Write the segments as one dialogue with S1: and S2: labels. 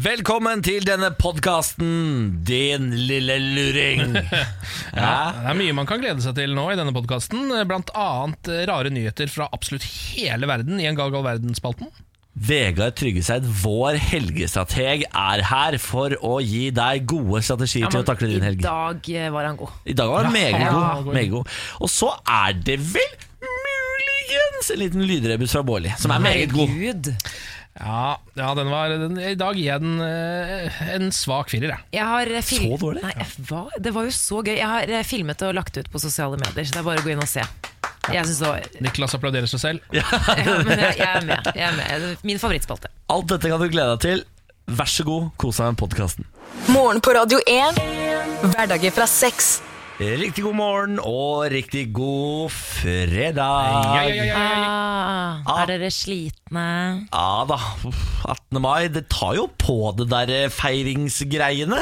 S1: Velkommen til denne podkasten, din lille luring.
S2: Ja, det er mye man kan glede seg til nå i denne podkasten. Blant annet eh, rare nyheter fra absolutt hele verden i en Gal Gal Verden-spalten.
S1: Vegard Tryggeseid, vår helgestrateg, er her for å gi deg gode strategier til å takle din helg.
S3: I dag eh, var han god.
S1: I dag var han meget
S2: Ja, han
S1: god.
S2: var
S1: Meget god. Og så er det vel muligens en liten lydrebus fra Bårli, som er meget god.
S3: Herregud.
S2: Ja, ja den var, den, I dag gir jeg den eh, en svak firer. jeg.
S3: Jeg har eh, fil-
S1: Så dårlig?
S3: Nei, jeg- hva? Det var jo så gøy. Jeg har eh, filmet og lagt det ut på sosiale medier, så det er bare å gå inn og se. Jeg synes det var
S2: Niklas applauderer seg selv.
S3: ja, Men jeg, jeg er med. Jeg er med. Min favorittspalte.
S1: Alt dette kan du glede deg til. Vær så god, kos deg med podkasten.
S4: Morgen på Radio 1. Hverdager fra seks.
S1: Riktig god morgen og riktig god
S2: Ja,
S1: fredag.
S2: ja, ja, ja.
S3: Ah,
S1: Ah.
S3: er dere slitne?
S1: Ja da. Uff, 18. mai, det tar jo på det der eh, feiringsgreiene.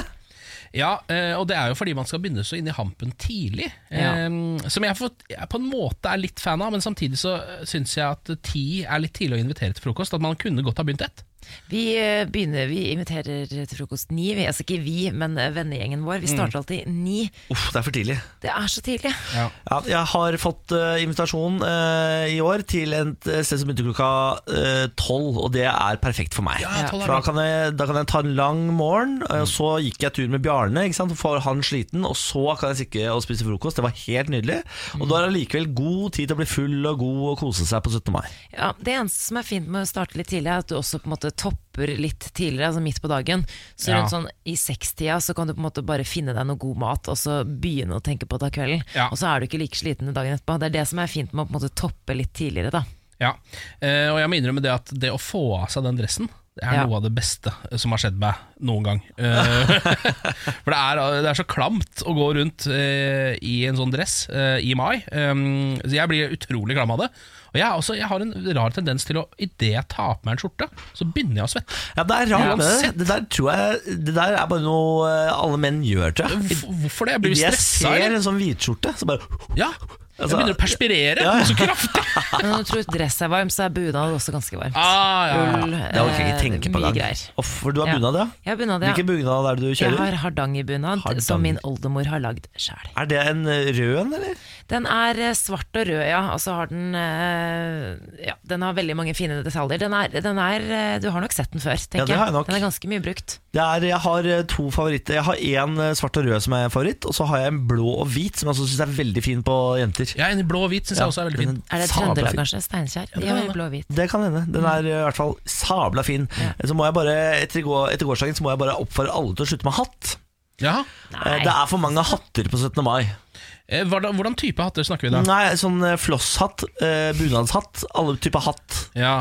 S2: ja eh, Og det er jo fordi man skal begynne så inn i hampen tidlig.
S3: Ja.
S2: Eh, Som jeg, har fått- jeg på en måte er litt fan av, men samtidig så eh, syns jeg at ti er litt tidlig å invitere til frokost. At man kunne godt ha begynt ett.
S3: Vi eh, begynner, vi inviterer til frokost ni. Vi, altså ikke vi, men eh, vennegjengen vår. Vi
S1: Mm.
S3: starter alltid ni.
S1: Uff, det er for tidlig.
S3: Det er så tidlig.
S1: Ja, jeg har fått eh, invitasjon eh, i år til et eh, sted som begynte klokka eh, tolv, og det er perfekt for meg.
S2: Ja, 12 er
S1: For da
S2: bra.
S1: kan, jeg, da kan jeg ta en lang morgen, eh, og så gikk jeg tur med Bjarne, ikke sant? for han sliten, og så kan jeg stikke og spise frokost. Det var helt nydelig. Og da er det allikevel god tid til å bli full og god og kose seg på 17. mai.
S3: Ja, det eneste som er fint med å starte litt tidlig, er at du også på en måte topper litt tidligere, altså midt på dagen. Så
S2: Ja.
S3: rundt sånn i sekstida så kan du på en måte bare finne deg noe god mat, og så begynne å tenke på det av kvelden.
S2: Ja.
S3: Og så er du ikke like sliten dagen etterpå. Det er det som er fint med å på en måte toppe litt tidligere, da.
S2: Ja, eh, og jeg må innrømme det at det å få av seg den dressen det er
S3: Ja.
S2: noe av det beste eh, som har skjedd meg noen gang. Eh, For det er, eh, det er så klamt å gå rundt eh, i en sånn dress eh, i mai. Um, så jeg blir utrolig klam av det. Og jeg, er også, jeg har en rar tendens til å idet jeg tar på meg en skjorte, så begynner jeg å svette.
S1: Ja, det er rart med det.
S2: Uansett.
S1: Det der, tror jeg, det der er bare noe eh, alle menn gjør, tror jeg.
S2: Hvor- Hvorfor det? Jeg
S1: Idet
S2: blir
S1: jeg
S2: stressa.
S1: ser
S2: eller?
S1: en sånn hvitskjorte, så bare
S2: Ja, jeg
S1: Altså,
S2: begynner å perspirere
S1: ja, ja.
S2: så kraftig.
S3: Men når du tror dress er varm, så er bunad også ganske varmt.
S2: Ah, ja, ja.
S3: Ull,
S1: Det orker jeg ikke
S3: eh,
S1: tenke på
S3: mye
S1: engang.
S3: greier.
S1: Uff, For du har bunad, ja?
S3: Jeg har bunad, ja.
S1: Hvilken bunad er det du
S3: Jeg
S1: kjører?
S3: har hardangerbunad
S1: Hardanger.
S3: som min oldemor har lagd sjæl.
S1: Er det en eh, rød en, eller?
S3: Den er eh, svart og rød, ja. Og så har den eh, ja, Den har veldig mange fine detaljer. Den er, den er eh, Du har nok sett den før, tenker
S1: Ja, det har jeg nok.
S3: Den er ganske mye brukt.
S1: Det er, jeg har eh, to favoritter. Jeg har én svart og rød som er favoritt, og så har jeg en blå og hvit som jeg også syns er veldig fin på jenter.
S2: Ja, en i blå og hvit syns jeg også er veldig fin.
S3: Er det
S1: sabla
S3: Trøndelag,
S1: fin.
S3: kanskje? Mm. Steinkjer? De har jo blå og hvit.
S1: Det kan hende. Den er eh, i hvert fall sabla fin. Eh, Så må jeg bare, etter, i går, etter gårsdagen så må jeg bare oppfordre alle til å slutte med hatt.
S2: Ja.
S1: Eh, Det er for mange hatter på 17. mai.
S2: Eh, hva- Hvordan type hatter snakker vi da?
S1: Nei, sånn eh, flosshatt, eh, bunadshatt, alle typer hatt.
S2: Ja.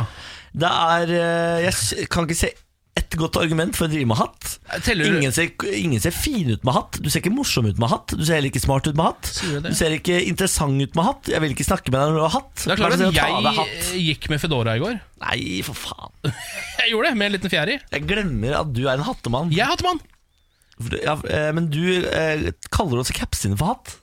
S1: Det er eh, Jeg s- kan ikke se ett godt argument for å drive med hatt.
S2: Eh, Teller du-
S1: Ingen ser, ingen ser fin ut med hatt. Du ser ikke morsom ut med hatt. Du ser heller ikke smart ut med hatt.
S2: Sier du det?
S1: Du ser ikke interessant ut med hatt. Jeg vil ikke snakke med deg når du har hatt.
S2: Det er klart
S1: Bare se
S2: at
S1: å ta av deg
S2: jeg eh,
S1: hatt.
S2: gikk med Fedora i går.
S1: Nei, for faen.
S2: Jeg gjorde det, med en liten fjær i.
S1: Jeg glemmer at du er en hattemann.
S2: Jeg er hattemann!
S1: For du- Ja, eh, men du eh, kaller også capsene for hatt.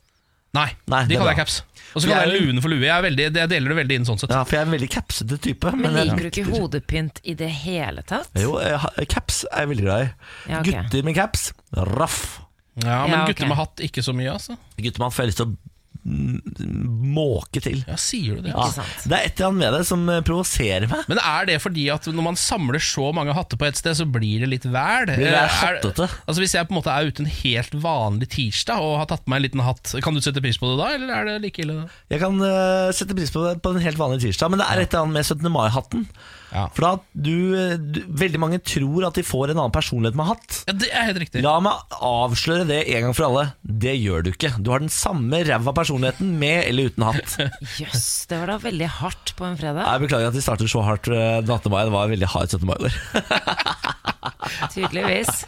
S2: Nei,
S1: Nei, det
S2: de
S1: er
S2: kaller jeg
S1: bra.
S2: caps. Og så
S1: Jeg er-
S2: kaller jeg luen for lue. Jeg, er veldig, jeg deler det veldig inn sånn sett.
S1: Ja, for jeg er en veldig capsete type.
S3: Men
S1: jeg
S3: liker du ikke hodepynt i det hele tatt?
S1: Jo, eh, ha- caps er jeg veldig glad i.
S3: Ja, ok.
S1: Gutter med caps, raff.
S2: Ja, Men
S3: Ja, ok.
S2: gutter med hatt, ikke så mye, altså.
S1: Gutter man får lyst til å mm, måke til.
S2: Ja, sier du det?
S1: Ja,
S3: Ikke
S1: Ah,
S3: sant.
S1: det er et eller annet med det som eh, provoserer meg.
S2: Men er det fordi at når man samler så mange hatter på ett sted, så blir det litt væl?
S1: det
S2: Eh,
S1: hattete?
S2: altså Hvis jeg på en måte er ute en helt vanlig tirsdag og har tatt på meg en liten hatt, kan du sette pris på det da, eller er det like ille? da?
S1: Jeg kan eh, sette pris på det på en helt vanlig tirsdag, men det er et eller annet med 17. mai-hatten.
S2: Ja.
S1: For da du, eh, du Veldig mange tror at de får en annen personlighet med hatt.
S2: Ja, det er helt riktig.
S1: La meg avsløre det en gang for alle. Det gjør du ikke. Du har den samme ræva personligheten med eller uten hatt.
S3: Jøss, det var da veldig hardt på en fredag.
S1: Jeg beklager at vi starter så hardt eh, 18. mai. Det var en veldig hard 17. mai i år.
S3: Tydeligvis.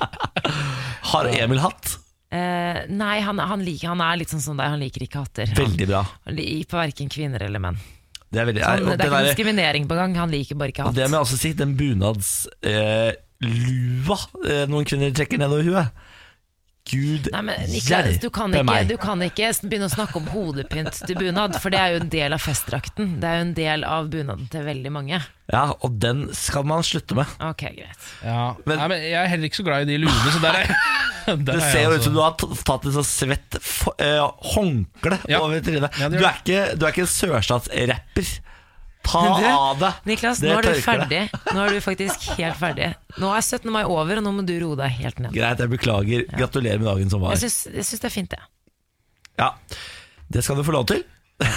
S1: Har Emil hatt?
S3: Eh, nei, han, han, liker, han er litt sånn som deg, han liker ikke hatter. Han,
S1: Veldig bra.
S3: han liker på verken kvinner eller menn.
S1: Det er veldig
S3: Han,
S1: og
S3: Sånn, det er
S1: den
S3: ikke
S1: der-
S3: diskriminering på gang, han liker bare ikke
S1: Og det
S3: hatt.
S1: må jeg også si, den bunadslua lua eh, noen kvinner trekker nedover huet. Gud
S3: Nei, men Niklas, du kan,
S1: hjelpe
S3: ikke,
S1: meg.
S3: du kan ikke begynne å snakke om hodepynt til bunad, for det er jo en del av festdrakten. Det er jo en del av bunaden til veldig mange.
S1: Ja, og den skal man slutte med.
S3: Ok, greit.
S2: Ja.
S1: Men-
S2: Nei, men jeg er heller ikke så glad i de luene, så der er der
S1: Det
S2: er jeg
S1: ser jo ut
S2: altså-
S1: som du har t- tatt et sånn svett f- eh, håndkle
S2: Ja.
S1: over trynet.
S2: Ja, det
S1: du,
S2: gjør
S1: er ikke, du er ikke en sørstatsrapper. Ta
S2: Du,
S1: av deg
S3: Niklas,
S1: det
S3: nå er du
S1: tørkleet.
S3: ferdig. Nå er du faktisk helt ferdig. Nå er 17. mai over, og nå må du roe deg helt ned.
S1: Greit, jeg beklager. Gratulerer med dagen som var.
S3: Jeg syns, jeg syns det er fint, det.
S1: Ja, Det skal du få lov til.
S2: Det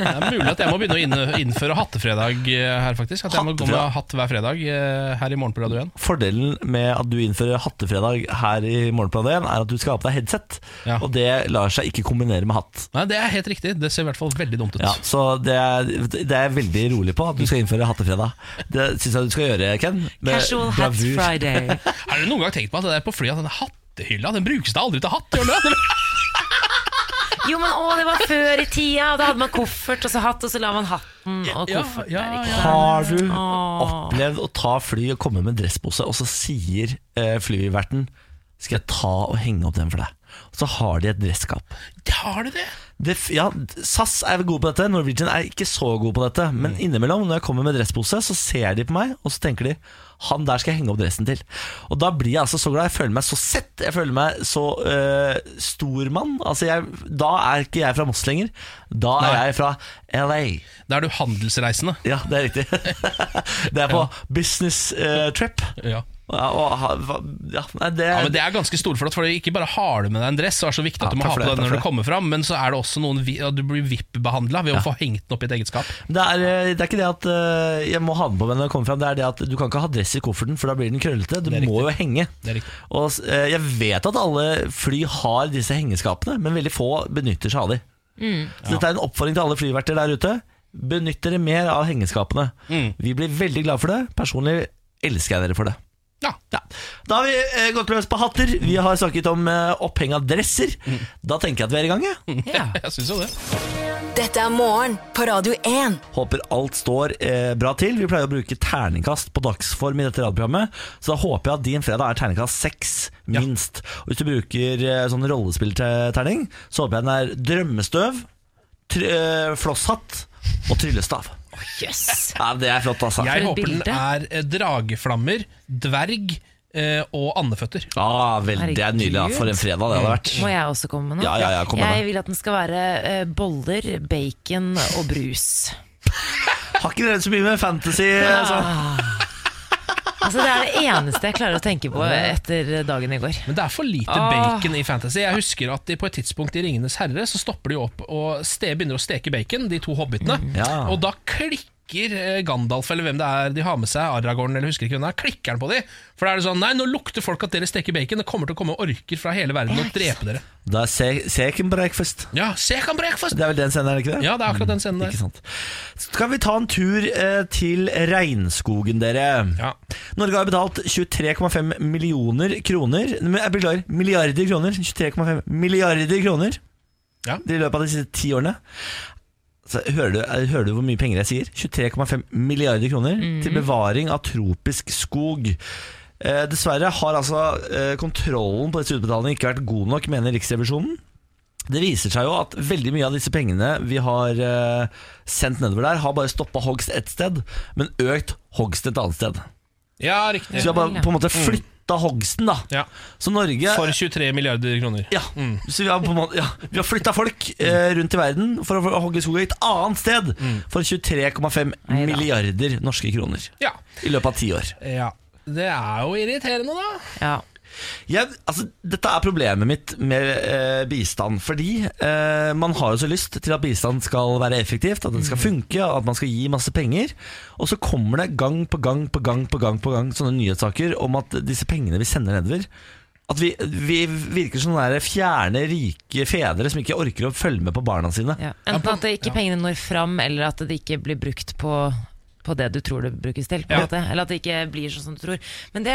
S2: er mulig at jeg må begynne å inne- innføre hattefredag eh, her, faktisk. At jeg må gå med
S1: Hattefredag.
S2: hatt hver fredag eh, her i morgen på Radio 1.
S1: Fordelen med at du innfører hattefredag her i Morgenplan 1, er at du skal ha på deg headset.
S2: Ja.
S1: Og det lar seg ikke kombinere med hatt.
S2: Nei, det er helt riktig. Det ser i hvert fall veldig dumt ut.
S1: Ja, så det er, det er jeg veldig rolig på at du skal innføre hattefredag. Det syns jeg du skal gjøre, Ken. med
S3: Casual Hat
S1: bravur.
S3: Friday.
S2: Har dere noen gang tenkt på at det der på flyet, denne hattehylla, den brukes da aldri til hatt? Gjør den det?
S3: Jo, men å, det var før i tida, og da hadde man koffert og så hatt, og så la man hatten og
S2: Ja,
S3: koffert
S2: ja,
S3: der.
S2: ja.
S3: Ikke?
S1: Har du
S3: Åh.
S1: opplevd å ta fly og komme med en dresspose, og så sier eh, flyverten skal jeg ta og henge opp den for deg? Og så har de et dresskap.
S2: Har du det?
S1: Det, f- ja, SAS er gode på dette, Norwegian er ikke så gode på dette. Men
S2: Mm.
S1: innimellom, når jeg kommer med dresspose, så ser de på meg, og så tenker de han der skal jeg henge opp dressen til. Og da blir jeg altså så glad. Jeg føler meg så sett. Jeg føler meg så øh, stor mann. Altså jeg, da er ikke jeg fra Moss lenger. Da er
S2: Nei.
S1: jeg fra LA.
S2: Da er du handelsreisende.
S1: Ja, det er riktig. det er på business øh, trip.
S2: Ja.
S1: Ja, og, ha- hva- ja, nei, det,
S2: Ja, men Det er ganske storflott, for ikke bare har du med deg en dress, og er så viktig
S1: Ja,
S2: at du må
S1: takk
S2: ha
S1: for
S2: på
S1: det,
S2: deg
S1: takk
S2: når
S1: for
S2: du
S1: det.
S2: kommer fram, men så er det også noen vi- at du blir VIP-behandla ved
S1: Ja.
S2: å få hengt den opp i et eget skap.
S1: Det er, eh, det er ikke det at øh, jeg må ha den på meg når jeg kommer fram, det er det at du kan ikke ha dress i kofferten, for da blir den krøllete. Du
S2: Det er
S1: må jo henge.
S2: Det er riktig.
S1: Og øh, jeg vet at alle fly har disse hengeskapene, men veldig få benytter seg av de. Så dette er en oppfordring til alle flyverter der ute. Benytt dere mer av hengeskapene.
S2: Mm.
S1: Vi blir veldig glad for det. Personlig elsker jeg dere for det.
S2: Ja.
S1: Ja. Da har vi eh, gått løs på hatter. Vi har snakket om eh, oppheng av dresser.
S2: Mm.
S1: Da tenker jeg at vi er i gang, jeg.
S3: Ja.
S2: Jeg syns jo det.
S4: Dette er morgen på Radio 1.
S1: Håper alt står eh, bra til. Vi pleier å bruke terningkast på dagsform i dette radioprogrammet, så da håper jeg at din fredag er terningkast seks, minst. Og hvis du bruker eh, sånn rollespillterning, så håper jeg den er drømmestøv, tr eh, flosshatt og tryllestav.
S3: Jøss.
S1: Ja, det er flott, altså.
S3: et
S2: Jeg håper den
S3: bilde.
S2: er eh, drageflammer, dverg eh, og andeføtter.
S1: Ja, vel, det er nydelig. Ja. For en fredag det hadde vært.
S3: Må jeg også komme med noe?
S1: Ja, ja, ja, kom med
S3: jeg
S1: det.
S3: vil at den skal være eh, boller, bacon og brus.
S1: Har ikke drevet så mye med fantasy. Altså.
S3: Altså, det er det eneste jeg klarer å tenke på etter dagen i går.
S2: Men det er for lite
S1: Ah.
S3: Åh.
S2: bacon i fantasy. Jeg husker at de på et tidspunkt i Ringenes herre så stopper de opp og ste, begynner å steke bacon, de to hobbitene.
S1: Mm. Ja.
S2: Og da klikker eh, Gandalf eller hvem det er de har med seg, Aragorn eller husker ikke hvem det er, klikker han på de. For da er det sånn Nei, nå lukter folk at dere steker bacon. Det kommer til å komme orker fra hele verden og drepe dere.
S1: Da ser jeg ikke breakfast.
S2: Ja, se kan breakfast!
S1: Det er vel den scenen, er det ikke det?
S2: Ja, det er akkurat den scenen der.
S1: Ikke sant. Skal vi ta en tur eh, til regnskogen, dere?
S2: Ja.
S1: Norge har betalt 23,5 millioner kroner men Jeg beklager, milliarder kroner. 23,5 milliarder kroner
S2: Ja.
S1: i løpet av de siste ti årene. Så hører, du, eh, hører du hvor mye penger jeg sier? 23,5 milliarder kroner til bevaring av tropisk skog. Eh, dessverre har altså eh, kontrollen på disse utbetalingene ikke vært god nok, mener Riksrevisjonen. Det viser seg jo at veldig mye av disse pengene vi har eh, sendt nedover der, har bare stoppa hogst ett sted, men økt hogst et annet sted.
S2: ja, riktig.
S1: Så vi har bare på en måte flytta hogsten, da.
S2: Mm. Ja.
S1: Så Norge
S2: For Mm. 23 milliarder kroner.
S1: ja, så vi har, på en måte- ja, vi har flytta folk eh,
S2: Mm.
S1: rundt i verden for å hogge skog et annet sted for 23,5
S3: Neida.
S1: milliarder norske kroner
S2: Ja.
S1: i løpet av ti år.
S2: ja. Det er jo irriterende, da.
S3: Ja.
S1: Jeg, altså, dette er problemet mitt med eh, bistand. Fordi eh, man har jo så lyst til at bistand skal være effektivt, at det skal funke, og at man skal gi masse penger. Og så kommer det gang på gang på gang på gang på gang sånne nyhetssaker om at disse pengene vi sender nedover at vi, vi virker som sånne der fjerne, rike fedre som ikke orker å følge med på barna sine.
S3: Ja. Enten at det ikke pengene når fram, eller at det ikke blir brukt på på det du tror det brukes til. På en
S2: Ja.
S3: måte. Eller at det ikke blir sånn som du tror. Men det,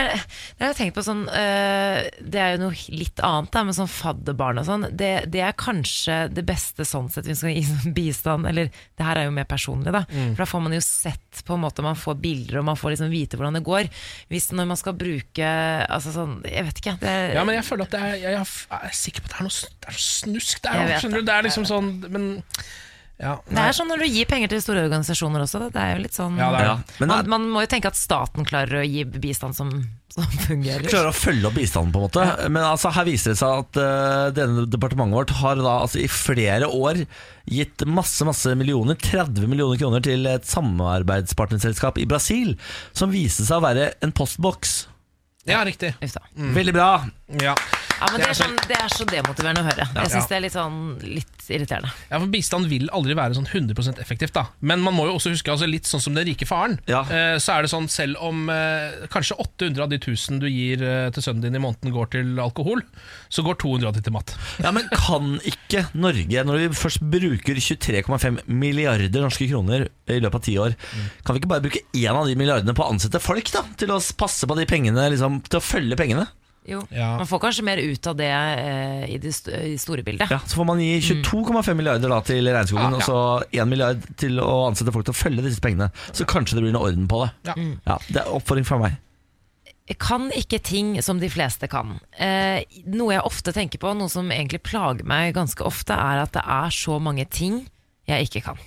S3: det har jeg tenkt på sånn øh, Det er jo noe litt annet da, med sånn fadderbarn og sånn. Det, det er kanskje det beste sånn sett hvis man skal gi sånn bistand. Eller det her er jo mer personlig, da. For da får man jo sett på en måte Man får bilder, og man får liksom vite hvordan det går. Hvis når man skal bruke Altså sånn Jeg vet ikke. Det,
S2: Ja, men jeg føler at det er, jeg, jeg er sikker på at det er noe, s- det er noe snusk der.
S3: Jeg
S2: da,
S3: vet
S2: Skjønner
S3: det.
S2: du? Det er liksom sånn Men ja,
S3: Det er sånn når du gir penger til store organisasjoner også. da. Det er jo litt sånn
S2: Ja, det er det.
S1: Ja, men eh,
S3: man,
S1: det-
S3: man må jo tenke at staten klarer å gi bistand som, som fungerer.
S1: klarer å følge opp bistanden, på en måte. Men altså, her viser det seg at eh, denne departementet vårt har da altså, i flere år gitt masse masse millioner, 30 millioner kroner, til et samarbeidspartnerselskap i Brasil, som viste seg å være en postboks.
S2: ja riktig. Mm.
S3: Uff da.
S1: Veldig bra.
S2: Ja.
S3: Ja, men det, er sånn, det er så demotiverende å høre. Jeg
S2: Ja.
S3: syns det er litt, sånn, litt irriterende.
S2: ja, for Bistand vil aldri være sånn 100 effektivt, da. Men man må jo også huske, altså, litt sånn som den rike faren,
S1: Ja.
S2: eh, så er det sånn selv om eh, kanskje 800 av de 1000 du gir eh, til sønnen din i måneden, går til alkohol, så går 200 av de til mat.
S1: Ja, Men kan ikke Norge, når vi først bruker 23,5 milliarder norske kroner i løpet av ti år, kan vi ikke bare bruke én av de milliardene på å ansette folk, da? Til å passe på de pengene, liksom, til å følge pengene?
S3: Jo.
S2: Ja.
S3: Man får kanskje mer ut av det eh, i det st i store bildet.
S1: Ja, Så får man gi 22,5 milliarder da til regnskogen,
S2: Mm. Ja, ja.
S1: og så 1 milliard til å ansette folk til å følge disse pengene. Så kanskje det blir noe orden på det.
S2: Ja. Mm.
S1: Ja, Det er oppfordring fra meg.
S3: Kan ikke ting som de fleste kan. Eh, noe jeg ofte tenker på, noe som egentlig plager meg ganske ofte, er at det er så mange ting jeg ikke kan.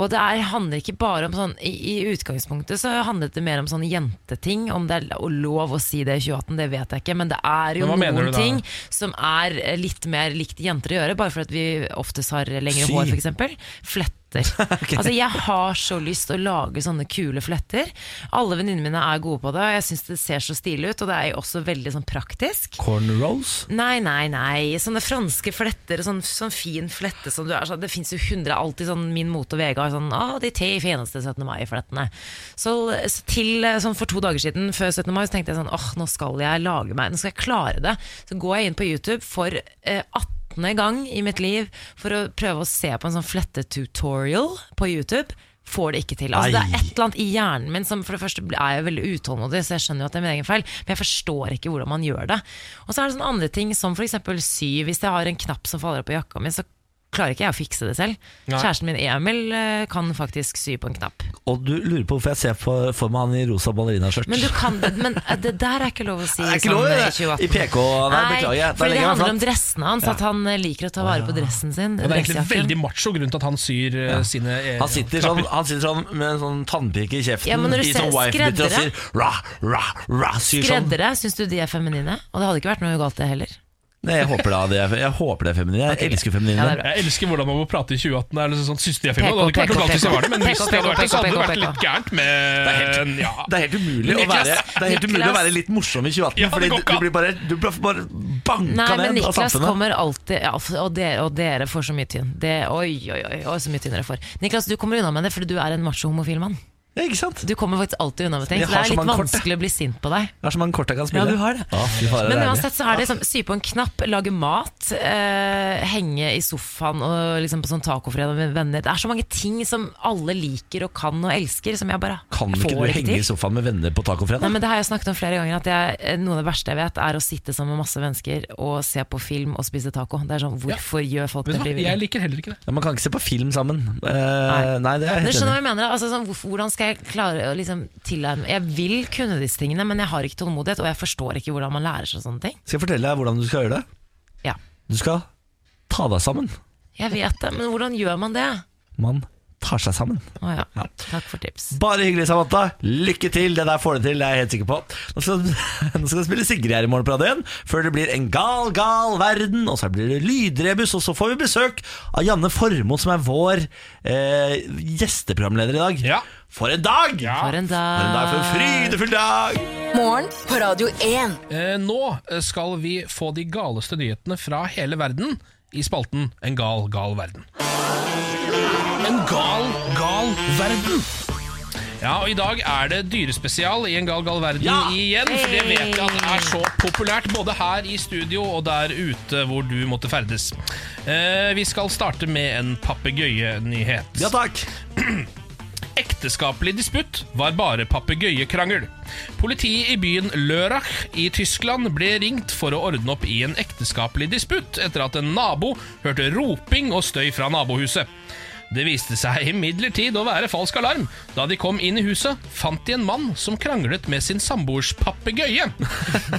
S3: Og det er, handler ikke bare om sånn i, I utgangspunktet så handlet det mer om sånne jenteting. Om det er lo- lov å si det i 2018, det vet jeg ikke. Men det er jo
S2: Men hva mener
S3: noen
S2: du da?
S3: ting som er eh, litt mer likt jenter å gjøre. Bare for at vi oftest har lengre
S1: Sy.
S3: hår, f.eks. Fletter. Altså Jeg har så lyst til å lage sånne kule fletter. Alle venninnene mine er gode på det. og Jeg syns det ser så stilig ut, og det er jo også veldig sånn praktisk.
S1: Cornrows?
S3: Nei, nei, nei. Sånne franske fletter, sånn, sånn fin flette som du er. Sånn, det fins jo hundre alltid sånn Min Mote og Vega har sånn Å, de tre fineste 17. mai-flettene. Så, så til eh, sånn for to dager siden, før 17. mai, så tenkte jeg sånn Åh, nå skal jeg lage meg Nå skal jeg klare det. Så går jeg inn på YouTube for eh, 18. gang i mitt liv for å prøve å se på en sånn flettetutorial på YouTube. Får det ikke til. Altså, det
S1: Nei.
S3: er et eller annet i hjernen min som for det første er jeg veldig utålmodig, så jeg skjønner jo at det er min egen feil, men jeg forstår ikke hvordan man gjør det. Og så er det sånne andre ting som f.eks. sy. Hvis jeg har en knapp som faller av på jakka mi, så klarer ikke jeg å fikse det selv. Kjæresten min Emil eh, kan faktisk sy på en knapp.
S1: Og du lurer på hvorfor jeg ser for, for meg han i rosa ballerinaskjørt?
S3: Men du kan det, men eh, det der er ikke lov å si
S1: Det er ikke lov,
S3: sånn, eh,
S1: det. I PK, nei, beklager jeg. Da legger
S3: fordi det
S1: jeg meg
S3: handler om
S1: flat.
S3: dressene hans, at han eh, liker å ta vare på dressen sin.
S2: Og det er egentlig
S3: dressjakken.
S1: sånn.
S2: veldig macho grunn til at han syr eh, sine eh,
S1: han sitter, sånn, han sitter sånn med en sånn tannpike i kjeften
S3: Ja, men når du
S1: i sånn
S3: ser
S1: wife-biter og
S3: skreddere-
S1: sier ra, ra, ra, syr sånn.
S3: Skreddere, syns du de er feminine? Og det hadde ikke vært noe galt, det heller.
S1: Nei, jeg håper da det er, jeg håper det er feminine. Jeg elsker feminine.
S3: Ja, det er bra.
S2: Jeg elsker hvordan man må prate i 2018. Det er liksom sånn systemfilm. Det
S3: PK,
S2: hadde ikke vært
S3: PK,
S2: noe galt hvis det var det, men
S3: PK,
S2: hvis det hadde vært det, så hadde det vært
S3: PK.
S2: litt gærent med ja.
S1: Det er helt umulig, å
S2: Niklas,
S1: være, det er helt umulig å
S3: Niklas.
S1: være litt morsom i 2018,
S2: Ja, det
S1: fordi
S2: går
S1: du,
S2: ikke an.
S1: du blir bare, du blir bare banka
S3: Nei, men
S1: ned av
S3: Niklas
S1: samfunnet.
S3: kommer alltid ja, f- og, dere, og dere får så mye tynn. Det, oi, oi, oi, oi, så mye tynn dere får. Niklas, du kommer unna med det fordi du er en macho homofil mann.
S1: Ja, ikke sant?
S3: Du kommer faktisk alltid unna med ting,
S1: Jeg
S3: så
S1: har
S3: det er
S1: så
S3: litt
S1: mange kort,
S3: vanskelig å bli sint på deg.
S1: Det er så mange kort jeg kan spille.
S3: Ja, du har det.
S1: Ja, fy faen, det
S3: Men
S1: er deilig.
S3: uansett så er det liksom, sy på en knapp, lage mat, eh, henge i sofaen og liksom på sånn tacofredag med venner. Det er så mange ting som alle liker og kan og elsker, som jeg bare
S1: Kan ikke
S3: jeg får
S1: du
S3: det
S1: henge i
S3: til.
S1: sofaen med venner på
S3: Nei,
S1: tacofredag?
S3: men det har jeg snakket om flere ganger at jeg, eh, Noe av det verste jeg vet er å sitte sammen med masse mennesker Og se på film og spise taco Det er sånn, hvorfor gjør folk det
S2: Vet du hva,
S3: frivillig?
S2: jeg liker heller ikke det.
S1: Ja, man kan ikke se på film sammen. Eh, nei, det er jeg
S3: Men
S1: helt enig
S3: skjønner du hva
S1: i.
S3: jeg mener? da? Altså, sånn, hvorf- hvordan skal jeg klare å liksom tilnærme Jeg vil kunne disse tingene, men jeg har ikke tålmodighet, og jeg forstår ikke hvordan man lærer seg sånne ting.
S1: Skal jeg fortelle deg hvordan du skal gjøre det?
S3: Ja,
S1: Du skal ta deg sammen.
S3: jeg vet det, men hvordan gjør man det?
S1: Man tar seg sammen.
S3: Å ja. Takk for tips.
S1: Bare hyggelig, Samantha. Lykke til. Det der får du til, det er jeg helt sikker på. Nå skal, nå skal du spille Sigrid her i morgen på radioen, før det blir En gal, gal verden. Og så blir det lydrebus, og så får vi besøk av Janne Formoe, som er vår eh, gjesteprogramleder i dag.
S2: Ja.
S1: For en dag!
S2: Ja.
S3: For en
S1: For en dag,
S3: dag.
S1: for en frydefull dag!
S4: Morgen på Radio 1.
S2: Eh, Nå skal vi få de galeste nyhetene fra hele verden i spalten En gal, gal verden. En gal, gal verden! Ja, og I dag er det dyrespesial i En gal, gal verden igjen. For det vet jeg at er så populært, både her i studio og der ute hvor du måtte ferdes. Eh, vi skal starte med en papegøyenyhet.
S1: Ja takk!
S2: Ekteskapelig disputt var bare papegøyekrangel. Politiet i byen Lørach i Tyskland ble ringt for å ordne opp i en ekteskapelig disputt etter at en nabo hørte roping og støy fra nabohuset. Det viste seg imidlertid å være falsk alarm. Da de kom inn i huset, fant de en mann som kranglet med sin samboers papegøye.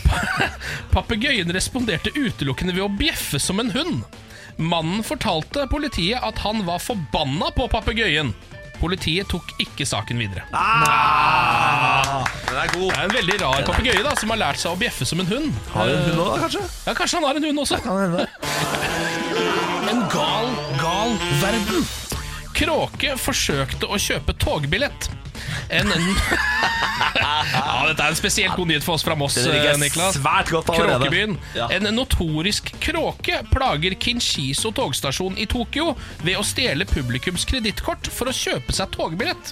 S2: Papegøyen responderte utelukkende ved å bjeffe som en hund. Mannen fortalte politiet at han var forbanna på papegøyen. Politiet tok ikke saken videre.
S1: Den er god.
S2: Det er en veldig rar papegøye da, som har lært seg å bjeffe som en hund.
S1: Har du en hund òg, kanskje?
S2: Ja, Kanskje han har en hund også.
S1: Kan hende.
S2: En gal, gal verden. Kråke forsøkte å kjøpe togbillett. En ja, Dette er en spesielt god nyhet for oss fra Moss.
S1: Det ligger
S2: eh, Niklas.
S1: svært godt allerede.
S2: Kråkebyen.
S1: Ja.
S2: En notorisk kråke plager Kinshiso togstasjon i Tokyo ved å stjele publikums kredittkort for å kjøpe seg togbillett.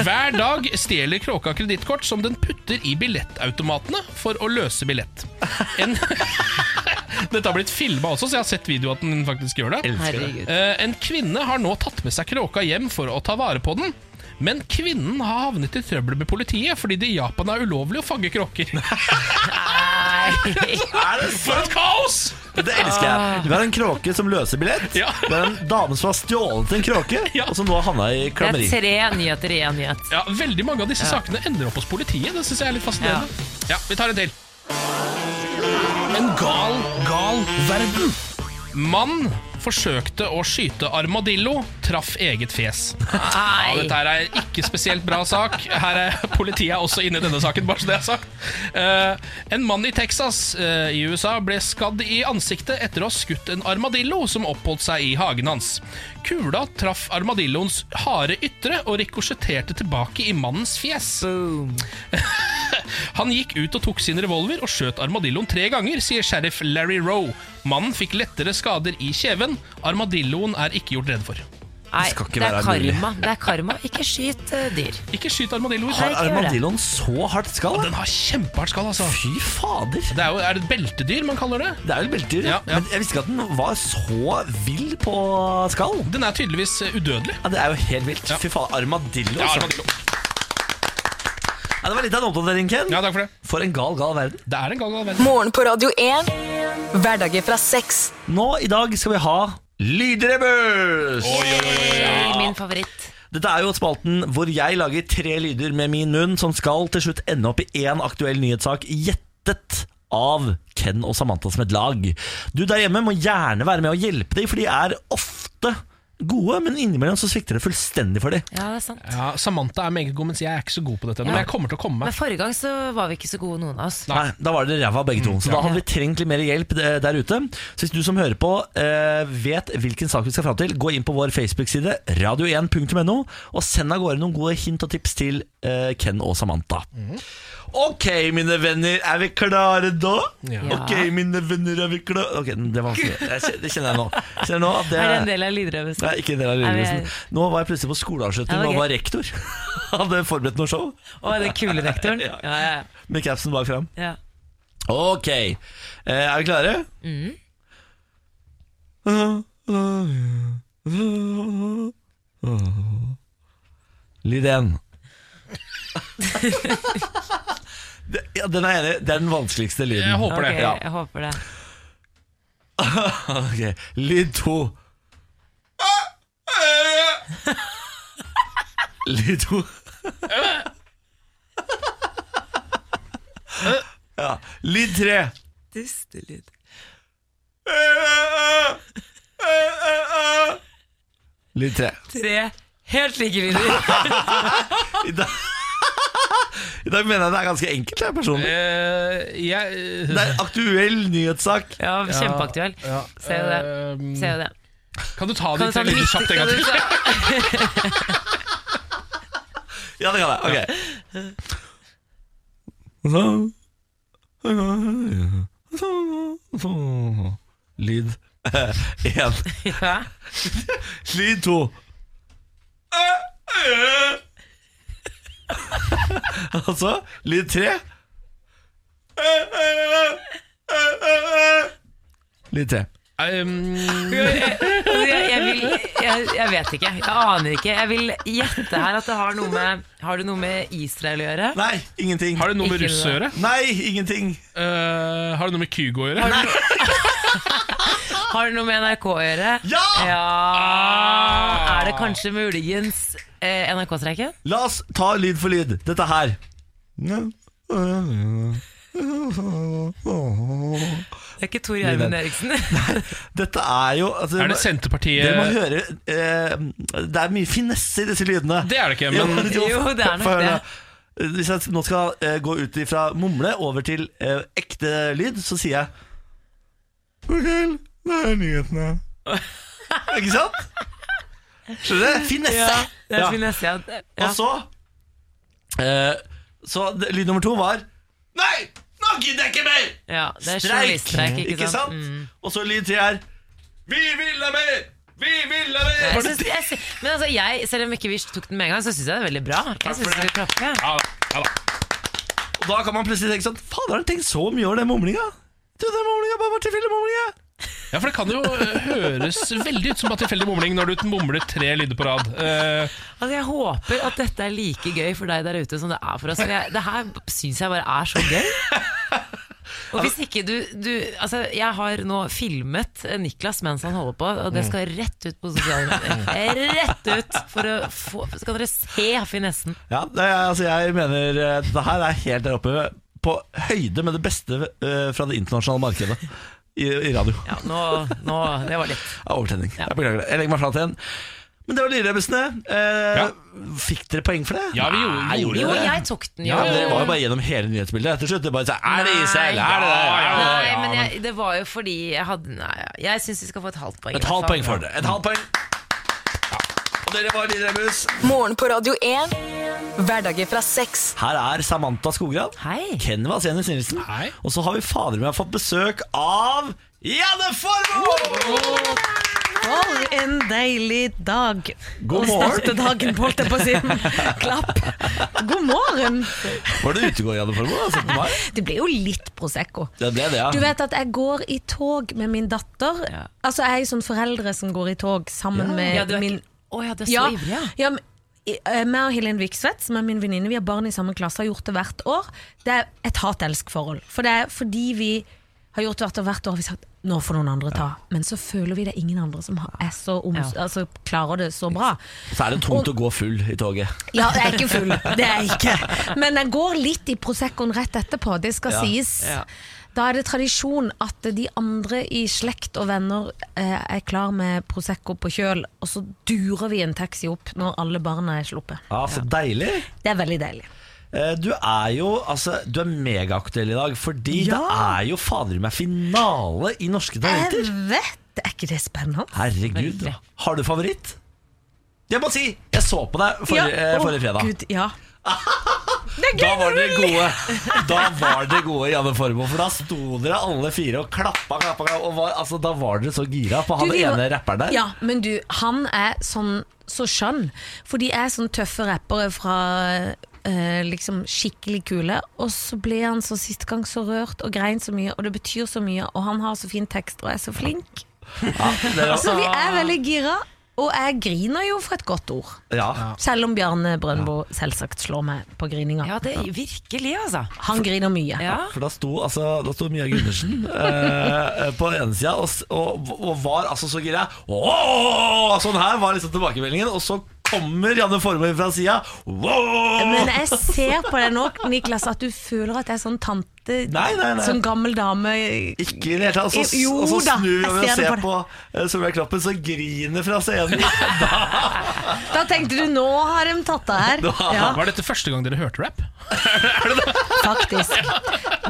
S2: Hver dag stjeler kråka kredittkort som den putter i billettautomatene for å løse billett. En Dette har blitt filma også, så jeg har sett video at den faktisk gjør det.
S3: Herregud.
S2: Eh, En kvinne har nå tatt med seg kråka hjem for å ta vare på den. Men kvinnen har havnet i trøbbel med politiet fordi det i Japan er ulovlig å fange kråker.
S1: Er det
S2: For et kaos!
S1: Det elsker jeg. Vi har en kråke som løser billett.
S2: Ah. Ja.
S1: Det er en dame som har stjålet en kråke,
S2: Ja.
S1: og som nå har havna i
S3: Det
S1: klammeri.
S3: er tre nyheter i én nyhet.
S2: Ja, Veldig mange av disse sakene ender opp hos politiet. Det synes jeg er litt fascinerende. Ja, Vi tar en til. En gal, gal verden. Mann forsøkte å skyte armadillo, traff eget fjes. Ja,
S3: Nei.
S2: dette her er ikke spesielt bra sak. Her er Politiet er også inne i denne saken, bare så det er sagt. Eh, en mann i Texas eh, i USA ble skadd i ansiktet etter å ha skutt en armadillo som oppholdt seg i hagen hans. Kula traff armadilloens harde ytre og rikosjetterte tilbake i mannens fjes. Han gikk ut og tok sin revolver og skjøt armadilloen tre ganger, sier sheriff Larry Roe. Mannen fikk lettere skader i kjeven. Armadilloen er ikke gjort redd for.
S3: Nei,
S1: skal ikke
S3: det
S1: være
S3: er
S1: mulig.
S3: karma. Det er karma. Ikke skyt eh, dyr.
S2: Ikke skyt armadilloer.
S1: Har
S3: ikke gjør det.
S1: armadilloen så hardt skall? da?
S2: Den har kjempehardt skall, altså.
S1: Fy fader.
S2: Det er, jo, er det et beltedyr man kaller det?
S1: Det er vel beltedyr.
S2: Ja, ja.
S1: Men jeg visste ikke at den var så vill på skall.
S2: Den er tydeligvis eh, udødelig.
S1: Ja, det er jo helt vilt.
S2: Ja.
S1: Fy faen, armadillo.
S2: Ja,
S1: altså.
S2: armadillo.
S1: Ja, det var litt av en oppdatering, Ken.
S2: ja, takk for det.
S1: For en gal, gal verden.
S2: Det er en gang anvendt.
S4: Morgen på Radio 1. Hverdager fra seks.
S1: Nå i dag skal vi ha Lydrebus!
S3: Eh, Min favoritt.
S1: Dette er jo spalten hvor jeg lager tre lyder med min munn, som skal til slutt ende opp i én aktuell nyhetssak gjettet av Ken og Samantha som et lag. Du der hjemme må gjerne være med og hjelpe dem, for de er ofte gode, men innimellom så svikter det fullstendig for dem.
S3: Ja, det er sant.
S2: Ja, Samantha er meget god, mens jeg er ikke så god på dette. ennå, Men jeg kommer til å komme
S3: Men
S2: meg.
S3: forrige gang så var vi ikke så gode, noen av oss.
S2: Nei.
S1: Nei, da var det ræva begge
S3: Mm.
S1: to. Så da hadde vi trengt litt mer hjelp eh, der ute. Så hvis du som hører på eh, vet hvilken sak vi skal fram til, gå inn på vår Facebook-side, radio1.no, og send av gårde noen gode hint og tips til eh, Ken og Samantha.
S3: Mm.
S1: Ok, mine venner, er vi klare da?
S3: Ja.
S1: Ok, mine venner, er vi klare Ok, det var vanskelig. Jeg kjen- Det kjenner jeg nå. Jeg Kjenner nå at det
S3: Er det en
S1: er
S3: del av lydrøvelsen?
S1: Nei, ikke en del av
S3: Er vi-
S1: lydelysen. Nå var jeg plutselig på
S3: Ja,
S1: skoleavslutning
S3: ok.
S1: og var rektor. Hadde forberedt noe show
S3: Å, den kule rektoren?
S1: Ja.
S3: Ja, ja,
S1: med capsen bak fram.
S3: ja.
S1: Ok, eh, er vi klare? Lyd 1 ja, Den er jeg enig i. Det er den vanskeligste lyden
S2: Jeg håper
S3: Ok,
S2: det. Ja.
S3: jeg håper det.
S1: Ok, Lyd 2 Lyd 2 ja. Lyd 3
S3: Dustelyd.
S1: Lyd 3
S3: Tre helt like lyder.
S1: I dag, I dag mener jeg det er ganske enkelt, jeg personlig.
S2: Eh, jeg eh,
S1: Det er en aktuell nyhetssak.
S3: Ja, kjempeaktuell.
S2: ja,
S3: Ser jo det.
S2: eh,
S3: Ser jo det.
S2: Kan du ta de
S3: Kan du ta
S2: tre
S3: den
S2: lydene
S3: riktig-
S2: kjapt en gang
S3: kan du
S2: til?
S3: ta-
S1: Ja, det kan jeg. Ok. Lyd én.
S3: Ja.
S1: Lyd to. Og så lyd tre. Lyd tre.
S2: Um,
S3: Jeg, jeg, vil, jeg, jeg vet ikke. Jeg aner ikke. Jeg vil gjette her at det har noe med Har det noe med Israel å gjøre?
S1: Nei, ingenting.
S2: har det noe med
S3: Ikke
S2: russ å gjøre?
S1: Nei, ingenting.
S2: Eh, har det noe med Kygo å gjøre?
S3: Har det noe med NRK å gjøre?
S1: Ja!
S3: Ja.
S2: Ah,
S3: Er det kanskje muligens eh, NRK-streiken?
S1: La oss ta lyd for lyd. Dette her.
S3: Det er ikke Tor Gjermund Eriksen.
S1: Dette er jo altså,
S2: Er det Senterpartiet
S1: Dere må høre eh, Det er mye finesse i disse lydene.
S2: Det er det ikke, men
S1: Jo,
S3: Jo, det er nok
S1: få høre
S3: det.
S1: nå. Hvis jeg nå skal eh, gå ut fra mumle over til eh, ekte lyd, så sier jeg God kveld, det er nyhetene. Ikke sant? Skjønner du? Finesse.
S3: Ja, det er
S1: Ja.
S3: finesse, ja.
S1: Og så eh, Så det, lyd nummer to var Nei, nå gidder jeg ikke mer!
S3: ja, det er
S1: Streik!
S3: journaliststreik, ikke, sant? Mm.
S1: Og så lyd tre her. Vi vil ha mer! Vi vil ha mer!
S3: Jeg synes, jeg, sy- men altså, jeg, selv om ikke vi tok den med en gang, så syns jeg det er veldig bra. Jeg synes vi skal klappe.
S2: ja, ja da.
S1: Og da kan man plutselig tenke sånn Fader, har han tenkt så mye over den mumlinga? Jeg trodde den mumlinga bare var tilfeldig mumlinga.
S2: ja, for det kan jo eh, høres veldig ut som bare tilfeldig mumling når du mumler tre lyder på rad. Eh,
S3: Altså, jeg håper at dette er like gøy for deg der ute som det er for oss. For jeg, det her syns jeg bare er så gøy. Og hvis ikke du, du Altså, jeg har nå filmet Niklas mens han holder på, og det skal rett ut på sosiale medier. Rett ut! For å få, så kan dere se finessen.
S1: Ja, det, er- altså jeg mener eh, Dette her er helt der oppe på høyde med det beste eh, fra det internasjonale markedet i, i radio.
S3: Ja, nå, nå Det var litt.
S1: Ja, overtenning. Jeg beklager det. Jeg legger meg flat igjen. Men det var Lillerebbesene. Eh,
S2: Ja.
S1: Fikk dere poeng for det?
S2: Ja, vi gjorde- vi gjorde
S3: Jo,
S1: dere
S3: jeg tok den, jo.
S2: Ja,
S1: Dere var jo bare gjennom hele nyhetsbildet til slutt. Det bare så, Er det
S3: Nei.
S1: Israel? Er det det?
S2: Ja, ja,
S3: Nei,
S2: ja,
S3: men
S2: men-
S3: jeg, det var jo fordi jeg hadde Nei, jeg syns vi skal få et halvt poeng. i
S1: Et
S3: hvert
S1: halvt
S3: fall.
S1: poeng for det. Et halvt poeng. Og dere var Lillerebbes.
S4: Morgen på Radio 1. Hverdager fra seks.
S1: Her er Samantha Skogran.
S3: Hei.
S1: Ken Vasenius Nilsen.
S2: Hei.
S1: Og så har vi fader meg fått besøk av Janne Formoe!
S5: For en deilig dag
S1: God
S5: å starte dagen på, holdt jeg på å si. Klapp. God morgen.
S1: Var det utegård, Janne Formoe? Altså, på meg?
S5: Det ble jo litt Prosecco.
S1: det ble det, ja.
S5: Du vet at jeg går i tog med min datter. Altså, jeg er jo sånn foreldre som går i tog sammen
S3: Ja,
S5: med
S3: du er
S5: min
S3: ikke, å ja, du er så
S5: ja,
S3: ivrig, ja.
S5: ja, men, i- eh, meg og Helene Viksvedt, som er min venninne, vi har barn i samme klasse, har gjort det hvert år. Det er et hat-elsk-forhold. For det er fordi vi har gjort det hvert år, hvert år har vi sagt nå får noen andre ta. Men så føler vi det er ingen andre som har- er så om,
S3: Ja.
S5: altså, klarer det så bra.
S1: Så er det tungt å gå full i toget.
S5: Ja, jeg er ikke full. Det er jeg ikke. Men jeg går litt i Proseccoen rett etterpå, det skal
S1: Ja.
S5: sies.
S3: Ja.
S5: Da er det tradisjon at de andre i slekt og venner eh, er klar med Prosecco på kjøl, og så durer vi en taxi opp når alle barna er sluppet.
S1: Ja, Så deilig.
S5: Det er veldig deilig.
S1: Eh, Du er jo altså, du er megaaktuell i dag, fordi
S5: Ja.
S1: det er jo fader meg finale i Norske
S5: Jeg
S1: Talenter.
S5: vet! Er ikke det spennende?
S1: Herregud.
S3: Veldig.
S1: Har du favoritt? Jeg må si, jeg så på deg forrige, eh,
S5: Å,
S1: forrige fredag.
S5: Gud, ja.
S1: Da var dere gode, da var dere gode Janne Formoe, for da sto dere alle fire og klappa, klappa, klappa og var, altså, da var dere så gira på han
S5: Du, vi var-
S1: ene rapperen der.
S5: Ja, men du, han er sånn så skjønn. For de er sånn tøffe rappere fra eh, liksom skikkelig kule. Og så ble han så sist gang så rørt og grein så mye, og det betyr så mye. Og han har så fin tekst og er så flink.
S1: Dere,
S5: Så vi
S1: Altså-
S5: er veldig gira. Og jeg griner jo for et godt ord.
S1: ja.
S5: Selv om Bjarne Brøndbo selvsagt slår meg på grininga.
S3: Ja, det virkelig, altså.
S5: Han griner mye.
S3: Ja.
S1: For da sto, altså, da sto Mia Gundersen eh, eh, på den ene sida og, s- og, og var altså så gira. Åh! Sånn her var liksom tilbakemeldingen. Og så kommer Janne Formoe fra sida.
S5: Men jeg ser på deg nå, Niklas, at du føler at jeg er sånn tante,
S1: Nei, nei, nei.
S5: sånn gammel dame
S1: Ikke i det hele tatt. Og så,
S5: Jo
S1: og så
S5: da,
S1: snur vi
S5: jeg
S1: og
S5: ser det
S1: ser
S5: på
S1: på, på Solveig Kloppen, som griner fra scenen.
S5: Da tenkte du nå har de tatt deg her. Ja,
S2: Var dette første gang dere hørte rap?
S5: faktisk.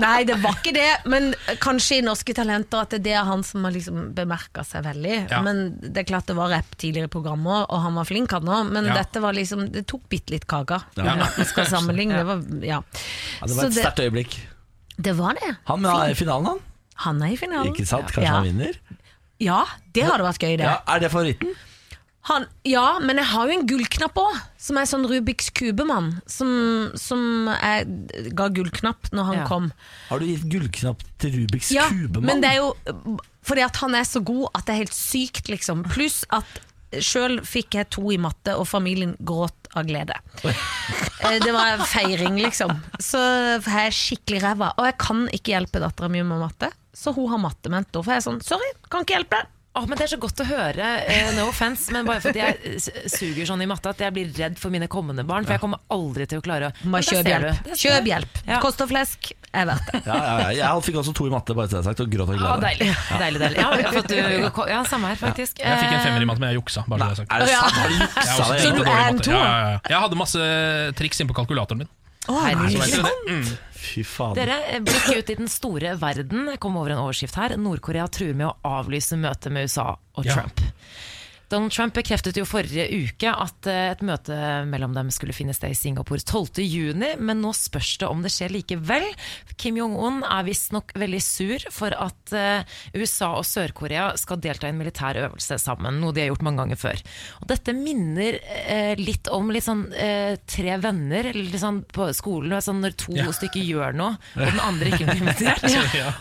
S5: Nei, det var ikke det, men kanskje i Norske Talenter at det er han som har liksom bemerka seg veldig.
S2: Ja.
S5: Men det er klart det var rapp tidligere i programmet, og han var flink han òg, men
S2: Ja.
S5: dette var liksom Det tok bitte litt kaka.
S1: Ja.
S5: Men at vi skal sammenligne, det var Ja.
S1: Ja, det var et
S5: Så det-
S1: sterkt øyeblikk.
S5: Det var det.
S1: Han er i finalen, han.
S5: Han er i finalen.
S1: Ikke sant? Kanskje
S5: ja.
S1: han vinner?
S5: Ja, det hadde vært gøy, det.
S1: Ja, Er det favoritten?
S5: Han, ja, men jeg har jo en gullknapp òg, som er sånn Rubiks kubemann. Som, som jeg ga gullknapp når han
S3: Ja.
S5: kom.
S1: Har du gitt gullknapp til Rubiks
S5: Ja,
S1: kubemann?
S5: men det er jo fordi at han er så god at det er helt sykt, liksom. Pluss at sjøl fikk jeg to i matte, og familien gråt av glede. Eh, Det var en feiring, liksom. Så jeg er skikkelig ræva. Og jeg kan ikke hjelpe dattera mi med matte, så hun har mattementor. For jeg er sånn, sorry, kan ikke hjelpe deg.
S3: Åh, men Det er så godt å høre. eh, no offense, men bare fordi jeg eh, suger sånn i matte at jeg blir redd for mine kommende barn. For jeg kommer aldri til å klare å
S5: Bare
S3: Men der
S5: kjøp
S3: ser
S5: hjelp.
S3: du. Der ser
S5: Kjøp
S3: du.
S5: hjelp.
S3: Ja.
S5: Kost og flesk er verdt det.
S1: Ja, ja, ja. Jeg fikk også to i matte, bare til det er sagt, og gråt av
S3: Å,
S1: glede.
S3: deilig. deilig, deilig. Ja, jeg har fått, uh, ja, samme her, faktisk.
S2: Jeg fikk en femmer i matte, men jeg juksa. Bare så det er sagt.
S1: Er det sant? Har du
S2: Jeg
S1: juksa
S2: også
S1: det?
S5: Eh, Så du
S2: kjempedårlig
S5: er
S2: i
S5: en
S2: matte.
S5: toer?
S2: Ja, ja, ja. Jeg hadde masse triks innpå kalkulatoren min.
S3: Herregud.
S2: Så vet dere det.
S1: Fy fader.
S3: Eh, Dere, Eh, blikk ut i den store verden. Jeg kom over en overskrift her. Nord-Korea truer med å avlyse møtet med USA og
S2: Ja.
S3: Trump. Donald Trump bekreftet jo forrige uke at eh, et møte mellom dem skulle finne sted i Singapore 12. juni, men nå spørs det om det skjer likevel. Kim Jong-un er visstnok veldig sur for at eh, USA og Sør-Korea skal delta i en militær øvelse sammen, noe de har gjort mange ganger før. Og dette minner eh, litt om litt sånn eh, tre venner eller litt sånn på skolen, og sånn når to stykker gjør noe, og den andre ikke blir invitert.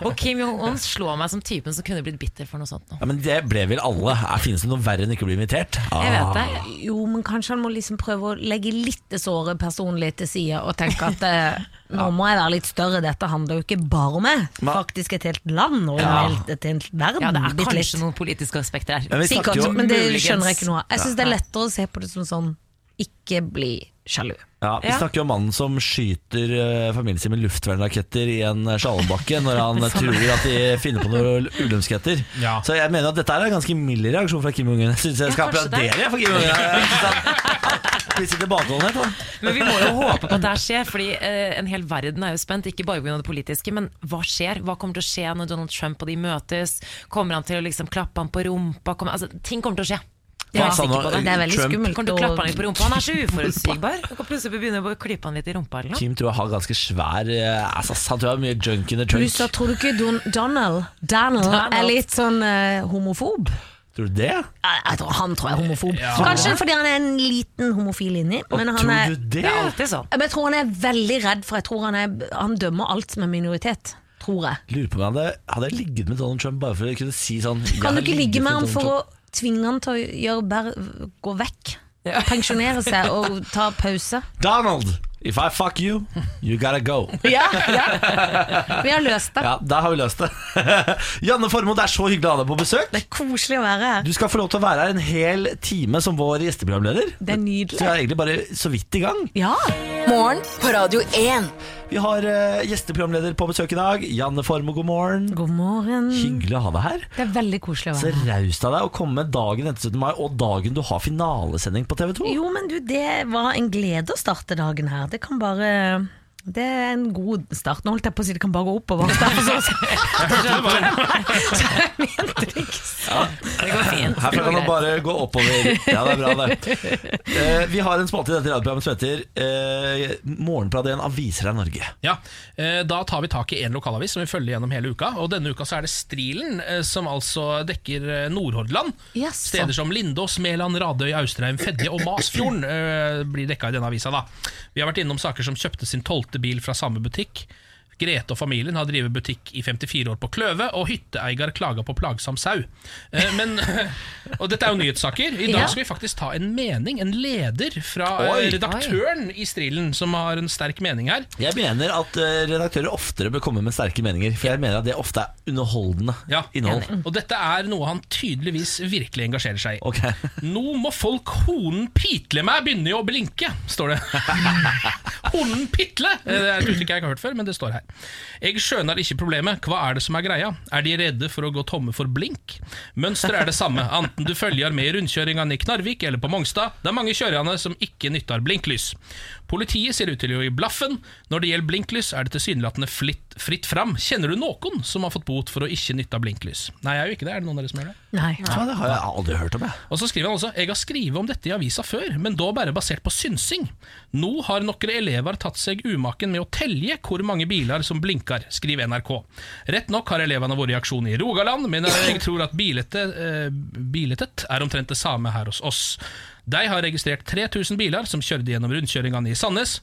S3: Og Kim Jong-un slår meg som typen som kunne blitt bitter for noe sånt. nå.
S1: Ja, men det ble vel alle. Er, finnes det noe verre enn ikke å bli invitert?
S3: Jeg vet
S1: Ah.
S3: det.
S5: Jo, men kanskje han må liksom prøve å legge litt det såre personlig til side og tenke at eh, nå må jeg være litt større, dette handler jo ikke bare om meg. Faktisk et helt land og en
S1: Ja.
S5: helt, et helt verden.
S3: Ja, det er
S5: bitte Mm, litt.
S3: kanskje noen politiske aspekter her.
S1: Men vi snakker
S5: Sikkert,
S1: jo-
S5: men det
S3: muligens.
S5: skjønner jeg ikke noe av. Jeg syns det er lettere å se på det som sånn ikke bli sjalu.
S1: Ja, Vi
S3: Ja.
S1: snakker jo om mannen som skyter eh, familien sin med luftvernraketter i en eh, slalåmbakke når han eh,
S5: Sånn.
S1: tror at de finner på noen ulemskheter.
S2: Ja.
S1: Så jeg mener at dette er en ganske mild reaksjon fra Kim Jong-un. Jeg syns jeg
S3: Ja,
S1: skal
S3: kanskje det.
S1: applaudere jeg, for Kim Jong-un. Jeg synes han- Vi sitter tilbakeholdne.
S3: Men vi må jo håpe på at det her skjer, fordi eh, en hel verden er jo spent. Ikke bare pga. det politiske, men hva skjer? Hva kommer til å skje når Donald Trump og de møtes? Kommer han til å liksom klappe han på rumpa? Kommer, altså, ting kommer til å skje. Jeg
S1: Hva
S3: er
S1: sa
S3: sikker
S1: nå?
S3: på
S5: Det er veldig
S1: Trump-
S5: skummelt.
S3: Kommer til å klappe han litt
S5: å-
S3: på rumpa? Han er så uforutsigbar. Du kan plutselig begynne å klippe han litt i rumpa eller noe.
S1: Kim tror jeg har ganske svær eh, ass, ass, Han tror jeg har mye junk in the trunk.
S5: Pluss at tror du ikke Don Donald, Donald, er litt sånn eh, homofob?
S1: Tror du det?
S5: Jeg, jeg tror, han tror jeg er homofob. Kanskje fordi han er en liten homofil inni. Men han
S1: tror
S5: er
S1: du det?
S3: Det er alltid sånn.
S5: Ja, Men jeg tror han er veldig redd, for jeg tror han, er, han dømmer alt som er minoritet. Tror jeg.
S1: Lurer på om jeg hadde, hadde jeg ligget med Donald Trump bare for å kunne si sånn jeg
S5: Kan
S1: har
S5: du ikke ligge
S1: ligget
S5: med han
S1: Donald
S5: for å
S1: Trump?
S5: tvinge han til å gjøre bare, gå vekk? Pensjonere seg og ta pause?
S1: Donald! If I fuck you, you gotta go.
S5: Ja, ja. Vi har løst det.
S1: Ja, Der har vi løst det. Janne Formoe, det er så hyggelig å ha deg på besøk.
S5: Det er koselig å være her.
S1: Du skal få lov til å være her en hel time som vår gjesteprogramleder.
S5: Det er
S1: Så jeg
S5: nydelig.
S1: er egentlig bare så vidt i gang.
S5: Ja.
S4: Morgen på Radio 1.
S1: Vi har eh, gjesteprogramleder på besøk i dag. Janne Formoe, god morgen.
S5: God morgen.
S1: Hyggelig å ha deg her.
S5: Det er veldig koselig å
S1: Så
S5: være her.
S1: raust av deg å komme dagen etter 17. mai og dagen du har finalesending på TV 2.
S5: Jo, men du, det var en glede å starte dagen her. Det kan bare det er en god start. Nå holdt jeg på å si det kan bare gå oppover. Derfor så, så jeg mente det ikke
S3: Det går fint.
S1: Her
S3: Det
S1: kan
S3: går
S1: man
S3: greit.
S1: bare gå oppover. Ja, det er bra, det. Eh, vi har en spalte i dette radioprogrammet som heter eh, Morgenprat 1 aviser av Norge.
S2: Ja, eh, Da tar vi tak i en lokalavis som vi følger gjennom hele uka. Og Denne uka så er det Strilen, eh, som altså dekker eh, Nordhordland.
S5: Jaså.
S2: Steder som Lindås, Mæland, Radøy, Austrheim, Fedje og Masfjorden eh, blir dekka i denne avisa. da Vi har vært innom saker som kjøpte sin tolvte bil fra samme butikk. Grete og familien har drevet butikk i 54 år på Kløve, og hytteeier klaga på plagsom sau. Eh, Men, og dette er jo nyhetssaker. I dag skal vi faktisk ta en mening, en leder, fra eh,
S1: Oi.
S2: redaktøren i Strilen, som har en sterk mening her.
S1: Jeg mener at eh, redaktører oftere bør komme med sterke meninger, for jeg mener at det ofte er underholdende
S2: Ja,
S1: innhold.
S2: Og dette er noe han tydeligvis virkelig engasjerer seg i.
S1: Ok.
S2: Nå må folk honen pitle meg begynne å blinke, står det. honen pitle! Eh, Det er et uttrykk jeg ikke har hørt før, men det står her. Jeg skjønner ikke problemet. Hva er det som er greia? Er de redde for å gå tomme for blink? Mønsteret er det samme, enten du følger med i rundkjøringene i Knarvik eller på Mongstad. Det er mange kjørende som ikke nytter blinklys. Politiet ser ut til å gi blaffen. Når det gjelder blinklys, er det tilsynelatende flitt, fritt fram. Kjenner du noen som har fått bot for å ikke nytte blinklys? Nei, jeg er jo ikke det. Er det noen av dere som gjør det?
S5: Nei.
S1: Ja, det har jeg aldri hørt om, jeg.
S2: Og så skriver han også Jeg har skrevet om dette i avisa før, men da bare basert på synsing. Nå har noen elever tatt seg umaken med å telje hvor mange biler som blinker, skriver NRK. Rett nok har elevene vært i aksjon i Rogaland, men jeg tror at bilete, eh, biletet er omtrent det samme her hos oss. De har registrert 3000 biler som kjørte gjennom rundkjøringene i Sandnes.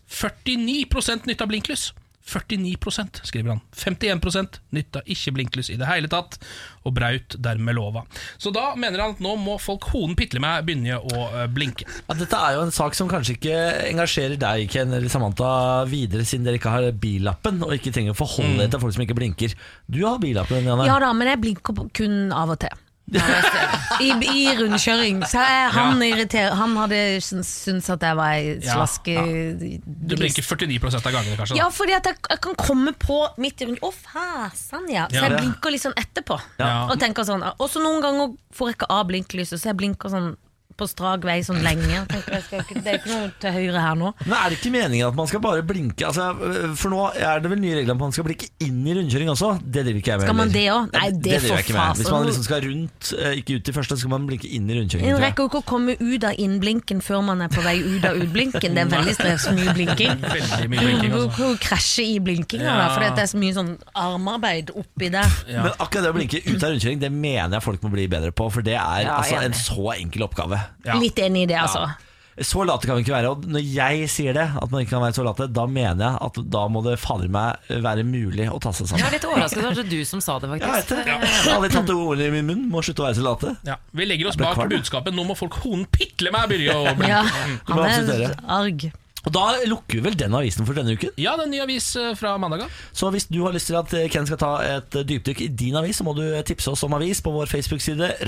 S2: 49 nytta blinklys. 49 skriver han. 51 nytta ikke blinklys i det hele tatt, og braut dermed lova. Så da mener han at nå må folk hoden pitle meg begynne å eh, blinke.
S1: Ja, dette er jo en sak som kanskje ikke engasjerer deg, Ken eller Samantha, videre, siden dere ikke har billappen og ikke trenger å forholde dere til folk som ikke blinker. Du har billappen, Janne.
S5: Ja da, men jeg blinker på- kun av og til. I, I rundkjøring. Så jeg, han, irriter, han hadde syns- syntes at jeg var ei
S2: Ja,
S5: slaske...
S2: Du blinker 49 av gangene, kanskje.
S5: Ja,
S2: Da.
S5: fordi at jeg, jeg kan komme på midt i rundt Å, fasen, ja. Så
S2: Ja.
S5: jeg blinker litt sånn etterpå.
S2: Ja.
S5: Og tenker sånn Og så noen ganger får jeg ikke av blinklyset, så jeg blinker sånn på strak vei sånn lenge. Og tenker, jeg skal ikke, det er ikke noe til høyre her nå.
S1: Men er det ikke meningen at man skal bare blinke? Altså, for nå er det vel nye regler om at man skal blinke inn i rundkjøring også? Det driver ikke jeg med.
S5: Skal man
S1: heller.
S5: det også? Nei, det
S1: driver
S5: får
S1: jeg ikke med.
S5: faen.
S1: Hvis man liksom skal rundt, eh, ikke ut til første, så skal man blinke inn i rundkjøringen. tror
S5: En
S1: jeg.
S5: rekker jo ikke å komme ut av innblinken før man er på vei ut av utblinken. Det er veldig stress, mye blinking.
S2: Veldig mye blinking,
S5: Du
S2: altså.
S5: kan jo krasje i blinkinga,
S2: Ja.
S5: da, fordi at det er så mye sånn armarbeid oppi der.
S2: Ja.
S1: Men akkurat det å blinke ut av rundkjøring, det mener jeg folk må bli bedre på. For det er
S3: Ja,
S1: altså,
S3: enig.
S1: en så enkel oppgave.
S2: Ja.
S5: Litt enig i det, altså.
S1: Så late kan vi ikke være. Og når jeg sier det, at man ikke kan være så late, da mener jeg at da må det fader meg være mulig å ta seg
S3: Jeg
S1: sammen.
S3: var litt overrasket over at det var du som sa det,
S1: Jeg vet
S3: faktisk.
S1: det. Jeg har aldri tatt det ordet i min munn. Må slutte å være så late.
S2: Ja. Vi legger oss
S1: Jeg ble
S2: bak
S1: kvalm.
S2: budskapet 'nå må folk hoden pitle meg', begynne å blinke.
S5: Ja,
S1: må
S5: han
S1: akseptere.
S5: er arg.
S1: Og da lukker vi vel den avisen for denne uken.
S2: Ja, det er en ny avis eh, fra mandag av.
S1: Så hvis du har lyst til at Ken skal ta et dypdykk i din avis, så må du tipse oss om avis på vår Facebook-side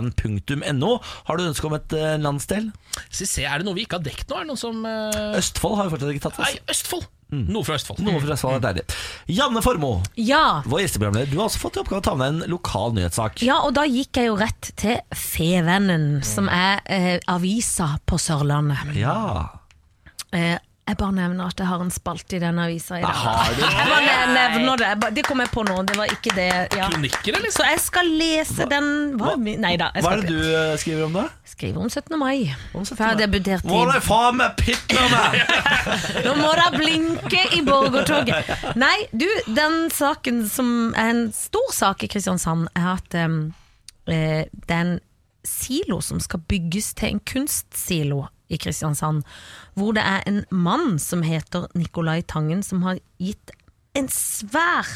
S1: radio1.no. Har du ønske om et eh, landsdel?
S2: Se, se, er det noe vi ikke har dekt nå? Er det noen som eh,
S1: Østfold har vi fortsatt ikke tatt.
S2: Nei,
S1: Altså.
S2: Østfold!
S5: Mm.
S2: Noe fra Østfold.
S1: Noe fra Østfold er deilig. Janne Formoe,
S5: Ja.
S1: vår gjesteprogramleder, du har også fått i oppgave å ta med deg en lokal nyhetssak.
S5: Ja, og da gikk jeg jo rett til Fevennen, som er eh, avisa på Sørlandet.
S1: Ja.
S5: Eh, jeg bare nevner at jeg har en spalte i den avisa i dag.
S1: Har du
S5: Jeg bare ne- nevner det. Jeg bare- Det kom jeg på nå, det var ikke det. Ja.
S2: Kronikker, eller?
S5: Så jeg skal lese den hva, Nei da. Jeg
S1: Hva
S5: skal
S1: er det
S5: ikke
S1: du eh, skriver om, da?
S5: skrive om 17. mai.
S1: Om 17.
S5: For jeg har debutert
S1: Må
S5: i
S1: du faen meg pitte meg!
S5: Nå må da blinke i borgertoget! Nei, du, den saken som er en stor sak i Kristiansand, er at em, eh, det er en silo som skal bygges til en kunstsilo i Kristiansand. Hvor det er en mann som heter Nicolai Tangen, som har gitt en svær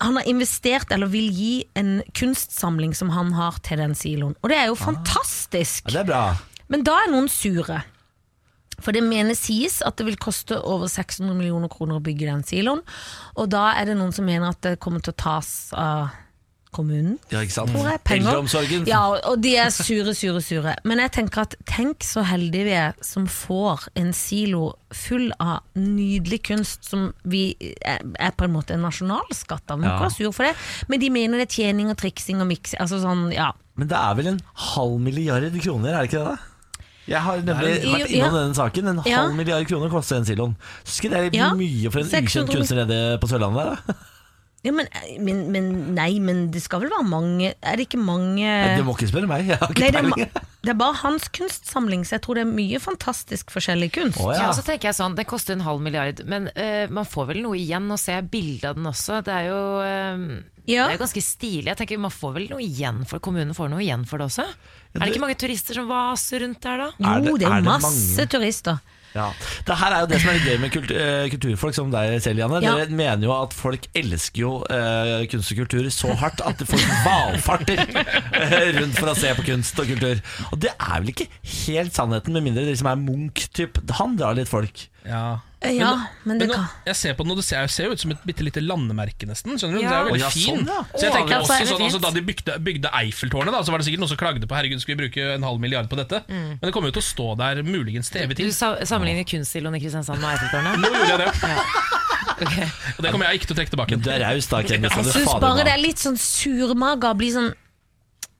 S5: han har investert eller vil gi en kunstsamling som han har til den siloen. Og det er jo fantastisk!
S1: Ja, det er bra.
S5: Men da er noen sure. For det menes sies at det vil koste over 600 millioner kroner å bygge den siloen. Og da er det noen som mener at det kommer til å tas av kommunen.
S1: Ja, ikke sant?
S5: Hvor er penger?
S1: Eldreomsorgen.
S5: Ja, og- og de er sure, sure, sure. Men jeg tenker at tenk så heldige vi er som får en silo full av nydelig kunst som vi er er på en måte en nasjonalskatt av. Man
S1: Ja.
S5: kan være sur for det, men de mener det er tjening og triksing og miks. Altså sånn, ja.
S1: Men det er vel en halv milliard kroner, er det ikke det? da? Jeg har nemlig
S5: Det er-
S1: vært innom
S5: Ja.
S1: denne saken. En
S5: Ja.
S1: halv milliard kroner koster en siloen. Syns ikke det er litt
S5: Ja.
S1: mye for en ukjent
S5: 600
S1: kunstner nede på Sørlandet? der, Da?
S5: ja men, eh, men, men nei, men det skal vel være mange Er det ikke mange
S1: Du må ikke spørre meg, jeg har
S5: Eh. Nei,
S1: ikke
S5: det, er,
S1: peiling.
S5: ma- det er bare hans kunstsamling, så jeg tror det er mye fantastisk forskjellig kunst.
S1: Å, ja.
S3: Ja, og så tenker jeg sånn, Det koster en halv milliard, men eh, man får vel noe igjen. Nå ser jeg bilde av den også. Det er jo eh,
S5: Ja.
S3: Det er jo ganske stilig. Jeg tenker Man får vel noe igjen for kommunen får noe igjen for det også? Er det ikke mange turister som vaser rundt der da?
S1: Er
S5: Jo,
S1: det-
S5: det er,
S1: er det
S5: masse
S1: mange?
S5: turister.
S1: Ja. Det her er jo det som er litt gøy med kult, eh, kulturfolk som deg selv, Janne.
S5: Ja.
S1: Dere mener jo at folk elsker jo eh, kunst og kultur så hardt at folk valfarter eh, rundt for å se på kunst og kultur. Og det er vel ikke helt sannheten, med mindre de som er Munch-typ. Han drar litt folk.
S2: Ja.
S5: Eh, Ja, men det
S2: Men nå,
S5: kan
S2: jeg ser på den, og det ser, jeg ser jo ut som et bitte lite landemerke, nesten. Skjønner du?
S3: Ja.
S2: Det er jo
S1: Å, ja,
S2: veldig fin.
S1: sånn, ja.
S2: Så jeg tenker
S3: Ja, så er
S2: også
S3: det
S2: sånn, altså,
S3: fint.
S2: Da de bygde, bygde Eiffeltårnet, da, så var det sikkert noen som klagde på Herregud, skulle vi bruke en halv milliard på dette?
S3: Mm.
S2: Men det kommer jo til å stå der muligens til evig
S3: Du
S2: tid.
S3: sa, sammenligner kunstsiloen i Kristiansand med Eiffeltårnet.
S2: Nå gjorde jeg det. Og det kommer jeg ikke til å trekke tilbake.
S1: Du er raus, da, Kenneth.
S5: Jeg
S1: Du
S5: syns
S1: fader
S5: bare
S1: meg.
S5: det er litt sånn surmaga å bli sånn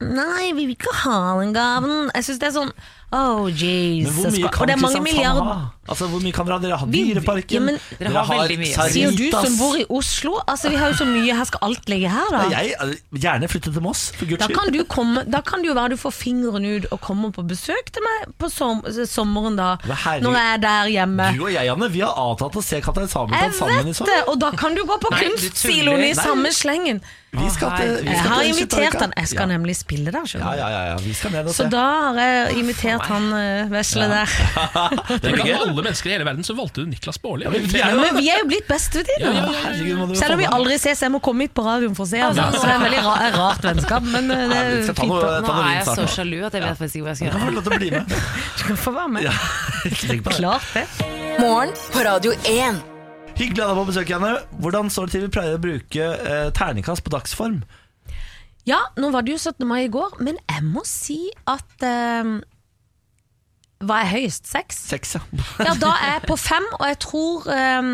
S5: Nei, vi vil ikke ha den gaven. Jeg syns det er sånn Oh,
S1: Men
S5: Jesus
S1: hvor mye
S5: Og
S1: kan sånn
S5: det er mange
S1: Kristiansand
S5: milliarder
S1: ha? Altså, hvor mye kan dere ha? Dere har
S5: Vi-
S1: Dyreparken,
S5: ja, men
S3: dere har veldig mye.
S5: Sier du som
S1: Sarritas.
S5: bor i Oslo? Altså, Vi har jo så mye, her skal alt ligge her,
S1: Ja,
S5: da.
S1: Jeg eh, gjerne flytte til Moss, for guds
S5: Da
S1: skyld.
S5: kan, du komme, da kan det jo være du får fingeren ut og kommer på besøk til meg på som, sommeren, da.
S1: Men herregud.
S5: Når jeg er der hjemme.
S1: Du og jeg, Janne, vi har avtalt å se Kaptein
S5: Jeg
S1: Sabeltann sammen i
S5: vet det!
S1: sommer.
S5: Og da kan du gå på
S3: Nei, du
S5: kunstsiloen i
S3: tuller.
S5: samme slengen.
S1: Vi skal til, vi skal
S5: Jeg har
S1: til
S5: invitert
S1: Skytterøyka.
S5: han. Jeg skal
S1: ja.
S5: nemlig spille der, skjønner du.
S1: Ja, ja, ja, ja, vi skal ned og
S5: Så
S1: se.
S5: da har jeg invitert han eh, vesle der.
S1: det blir
S2: Blant
S1: gøy.
S2: alle mennesker i hele verden så valgte du Niklas Baarli.
S1: men vi er
S5: Ja, men vi er jo blitt bestevenninner.
S1: Ja, herregud, må du
S5: Selv om vi
S1: få med.
S5: aldri ses, jeg må komme hit på radioen for å se ham. Så det er veldig ra er rart vennskap, men eh, det
S1: Ja, vi
S5: er
S1: skal ta
S5: fint.
S1: noe-
S5: å-
S1: ta
S3: Nå
S1: noe
S3: er
S1: vin
S3: jeg
S1: snart, da.
S3: så sjalu at jeg vet faktisk ikke hva jeg skal
S1: Du
S3: gjøre.
S1: får lov til å bli med.
S5: Du kan få være med.
S1: Ja, ikke tenk på det.
S5: Klart det.
S4: Morgen på Radio 1.
S1: Hyggelig å ha deg på besøk, Janne. Hvordan står det til vi pleier å bruke eh, terningkast på dagsform?
S5: Ja, nå var det jo 17. mai i går, men jeg må si at eh, Hva er høyest? Seks?
S1: Seks, ja.
S5: Ja, da er jeg på fem, og jeg tror eh,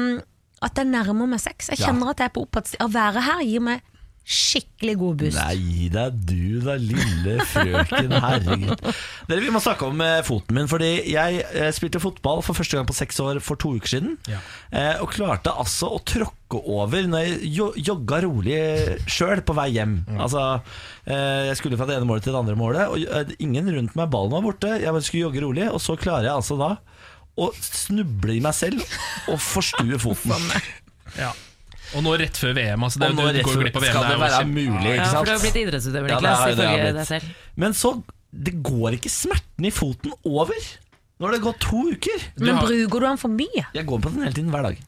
S5: at jeg nærmer meg seks. Jeg kjenner at jeg er på oppadstid. Å være her gir meg skikkelig god boost.
S1: Nei, det er du da, lille frøken. Herregud. Dere, Vi må snakke om eh, foten min. Fordi jeg eh, spilte fotball for første gang på seks år for to uker siden. Eh, og klarte altså å tråkke over når jeg jo jogga rolig sjøl på vei hjem.
S2: Mm.
S1: Altså, eh, Jeg skulle fra det ene målet til det andre målet, og eh, ingen rundt meg. Ballen var borte. Jeg bare skulle jogge rolig, og så klarer jeg altså da å snuble i meg selv og forstue foten.
S2: Ja. Og nå rett før VM. Altså, det,
S1: Sånn. Og nå
S2: du
S1: rett
S2: går jo
S1: før-
S2: glipp av VM.
S1: skal det
S2: er jo
S1: være
S2: kjempe-
S1: mulig,
S3: Ja,
S1: ikke sant?
S3: for du har blitt idrettsutøver,
S1: Ja, det
S3: Niklas,
S1: har jeg, det har jeg
S3: ifølge
S1: blitt.
S3: deg selv.
S1: Men så Det går ikke smerten i foten over. Nå har det gått to uker.
S2: Du
S5: Men
S2: har-
S5: bruker du den for mye?
S1: Jeg går på den hele tiden hver dag.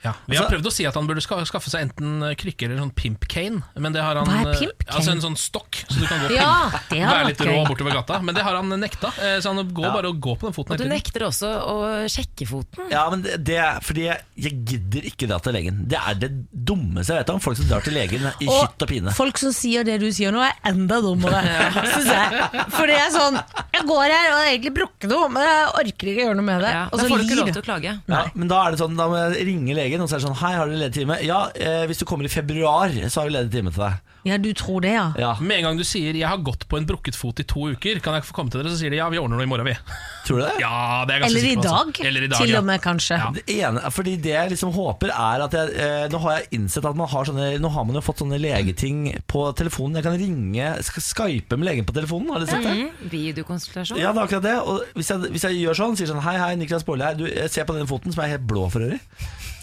S2: Ja, vi har
S1: Altså-
S2: prøvd å si at han burde ska- skaffe seg enten krykke eller sånn pimp cane. Men det har han,
S5: Hva er
S2: eh,
S5: pimp cane?
S2: Altså en sånn stokk, så du kan gå og
S5: Ja,
S2: pimpe.
S5: det har
S2: Være
S5: vært
S2: litt rå
S5: gøy.
S2: bortover gata. Men det har han nekta. eh, Så han går bare og går på den foten
S3: Og du
S2: hele tiden.
S3: nekter også å sjekke foten.
S1: Ja, men det, det er fordi jeg, jeg gidder ikke dra til legen. Det er det dummeste jeg vet om. Folk som drar til legen i hytt og pine.
S5: folk som sier det du sier nå, er enda dummere. Synes jeg. For det er sånn Jeg går her og har egentlig brukket noe, men jeg orker ikke gjøre noe med det.
S3: Ja,
S5: og
S3: da
S5: så
S3: får du ikke
S5: lir
S3: lov
S5: du.
S3: til å klage.
S1: Ja, men da er det sånn, da må jeg ringe legen og så er det sånn Hei, har du ledig time? Ja, eh, hvis du kommer i februar, så har vi ledig time til deg.
S5: Ja, du tror det, ja.
S1: Ja,
S2: Med en gang du sier 'jeg har gått på en brukket fot i to uker', kan jeg få komme til dere? Så sier de 'ja, vi ordner noe i morgen', vi.
S1: Tror du det?
S2: Ja, det er jeg ganske
S5: Eller i,
S2: sikker på,
S5: dag,
S2: altså. Eller i dag,
S5: til
S2: ja.
S5: og med, kanskje.
S2: Ja.
S1: Det ene, fordi det jeg liksom håper er at jeg, eh, Nå har jeg innsett at man har sånne Nå har man jo fått sånne legeting på telefonen Jeg kan ringe, sk- skype med legen på telefonen Har dere sett det?
S3: Mm, Videokonsultasjon.
S1: Ja, det er akkurat det Og hvis jeg, hvis jeg gjør sånn, sier sånn Hei, hei, Niklas Bårli her Du, jeg ser på den foten som er helt blå for øvrig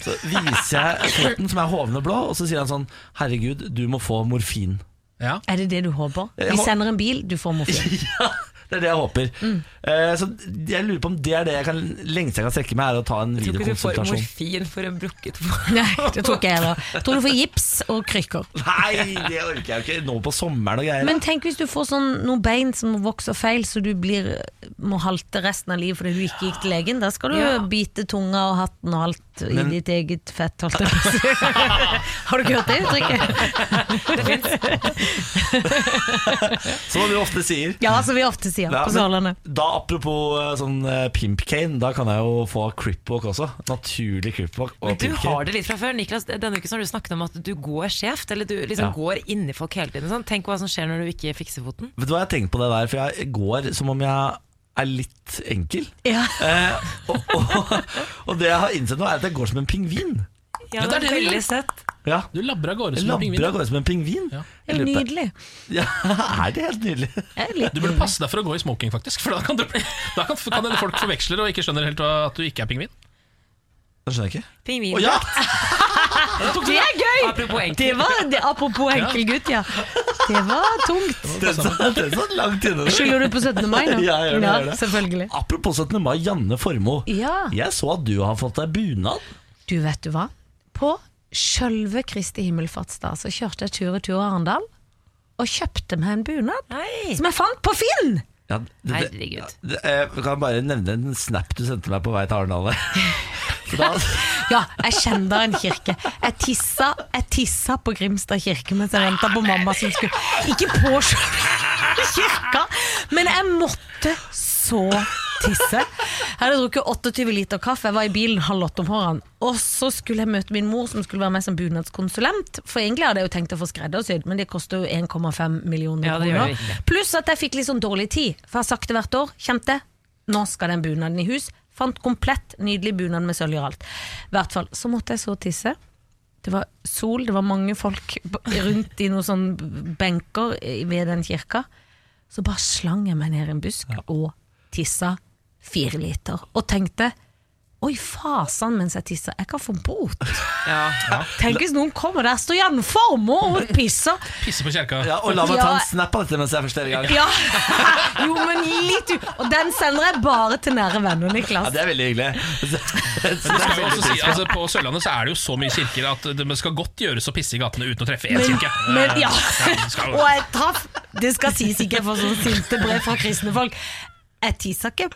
S1: Så viser jeg foten som er hovende blå Og så sier han sånn Herregud, du må få morfin
S2: Ja.
S5: Er det det du håper?
S1: Jeg
S5: Vi
S1: må-
S5: sender en bil, du får morfin.
S1: Ja, det er det jeg håper
S3: Mm.
S1: eh, Så jeg lurer på om det er det jeg kan Lengst jeg kan strekke meg er å ta en
S3: Tror ikke du får
S1: videokonsultasjon
S3: morfin for en brukket fot.
S5: Nei, det tror ikke jeg heller. Jeg Tror du får gips og krykker.
S1: Nei, det orker jeg jo ikke Nå på sommeren og greier
S5: Men tenk hvis du får sånn noen bein som vokser feil, så du blir, må halte resten av livet fordi du ikke gikk til legen. Da skal du
S3: Ja.
S5: bite tunga og hatten og alt
S1: Men-
S5: i ditt eget fett. Holdt jeg på å si. Har du ikke hørt det uttrykket?
S1: Som vi ofte sier.
S5: Ja, som vi ofte sier
S1: Ja,
S5: på
S1: men
S5: Sørlandet.
S1: da Apropos eh, sånn eh, pimp cane, da kan jeg jo få crip walk også. Naturlig crip walk og
S3: Men du
S1: pimp cane.
S3: har det litt fra før. Niklas, denne uken så har du snakket om at du går skjevt, eller du liksom
S1: Ja.
S3: går inni folk hele tiden. Sånn. Tenk hva som skjer når du ikke fikser foten.
S1: Vet du hva jeg har tenkt på det der, for jeg går som om jeg er litt enkel.
S5: Ja.
S1: Eh, og, og, og det jeg har innsett nå, er at jeg går som en pingvin.
S3: Ja,
S2: det er det du gjør.
S3: søtt.
S1: Ja.
S2: Du labber av gårde
S1: Jeg
S2: som en
S1: labber
S2: pingvin.
S1: av gårde som en pingvin.
S2: Ja.
S5: Det
S1: Jeg
S5: er
S1: lurer på-
S5: nydelig.
S1: Ja, er det helt nydelig?
S5: Jeg er litt
S2: Du burde passe deg for å gå i smoking, faktisk. For da kan, du, da kan, kan hende folk forveksler og ikke skjønner helt at du ikke er pingvin.
S1: Det skjønner jeg ikke. Å
S3: Pingvin.
S1: ja!
S5: Det er gøy!
S3: Apropos
S5: Det
S3: enkelt.
S5: var, det, apropos enkel gutt, ja. Det var tungt.
S1: Den satt den satt sånn langt inne.
S5: Skylder du på 17. mai nå?
S1: Ja, jeg gjør det, jeg gjør det.
S5: selvfølgelig.
S1: Apropos 17. mai, Janne Formoe.
S5: Ja.
S1: Jeg så at du har fått deg bunad.
S5: Du, vet du hva? På sjølve Kristi himmelfartsdag så kjørte jeg tur og tur Arendal og kjøpte meg en bunad
S3: Nei.
S5: som jeg fant på Finn!
S1: Ja, det- det-
S3: Herregud.
S1: Det- Jeg kan bare nevne en snap du sendte meg på vei til Arendal. For da-
S5: Ja, jeg kjente en kirke. Jeg tissa, jeg tissa på Grimstad kirke mens jeg venta på mamma som skulle Ikke på sjølve kirka, men jeg måtte så tisse. Jeg hadde drukket 28 liter kaffe, jeg var i bilen halv åtte om morgenen. Og så skulle jeg møte min mor, som skulle være med som bunadskonsulent. For egentlig hadde jeg jo tenkt å få skreddersydd, men det koster jo 1,5 millioner
S3: Ja, det gjør
S5: kroner.
S3: det ikke.
S5: Pluss at jeg fikk litt sånn dårlig tid, for jeg har sagt det hvert år. Kjente, nå skal den bunaden i hus. Fant komplett nydelig bunad med sølv og alt. I hvert fall, så måtte jeg så tisse. Det var sol, det var mange folk b- rundt i noen sånne benker i- ved den kirka. Så bare slang jeg meg ned i en busk og tissa fire liter. Og tenkte Oi, fasan mens jeg tisser. Jeg kan få bot. Tenk hvis noen kommer der, står Janne Formoe og pisser.
S2: Pisse på kjerka.
S1: Ja, og la meg ta
S5: Ja.
S1: en snap av dette mens jeg er første gang.
S5: Ja. Jo, men litt u... Og den sender jeg bare til nære venner,
S1: Ja,
S5: Niklas.
S1: det er veldig hyggelig. Så det
S2: Jeg
S1: er
S2: vil
S1: veldig
S2: også si,
S1: trist.
S2: altså, på Sørlandet så er det jo så mye kirker at det skal godt gjøres å pisse i gatene uten å treffe én kirke.
S5: Men,
S2: Eh,
S5: ja.
S2: det skal-
S5: Og jeg traff Det skal sies ikke for sånne sinte brev fra kristne folk. Jeg tissa ikke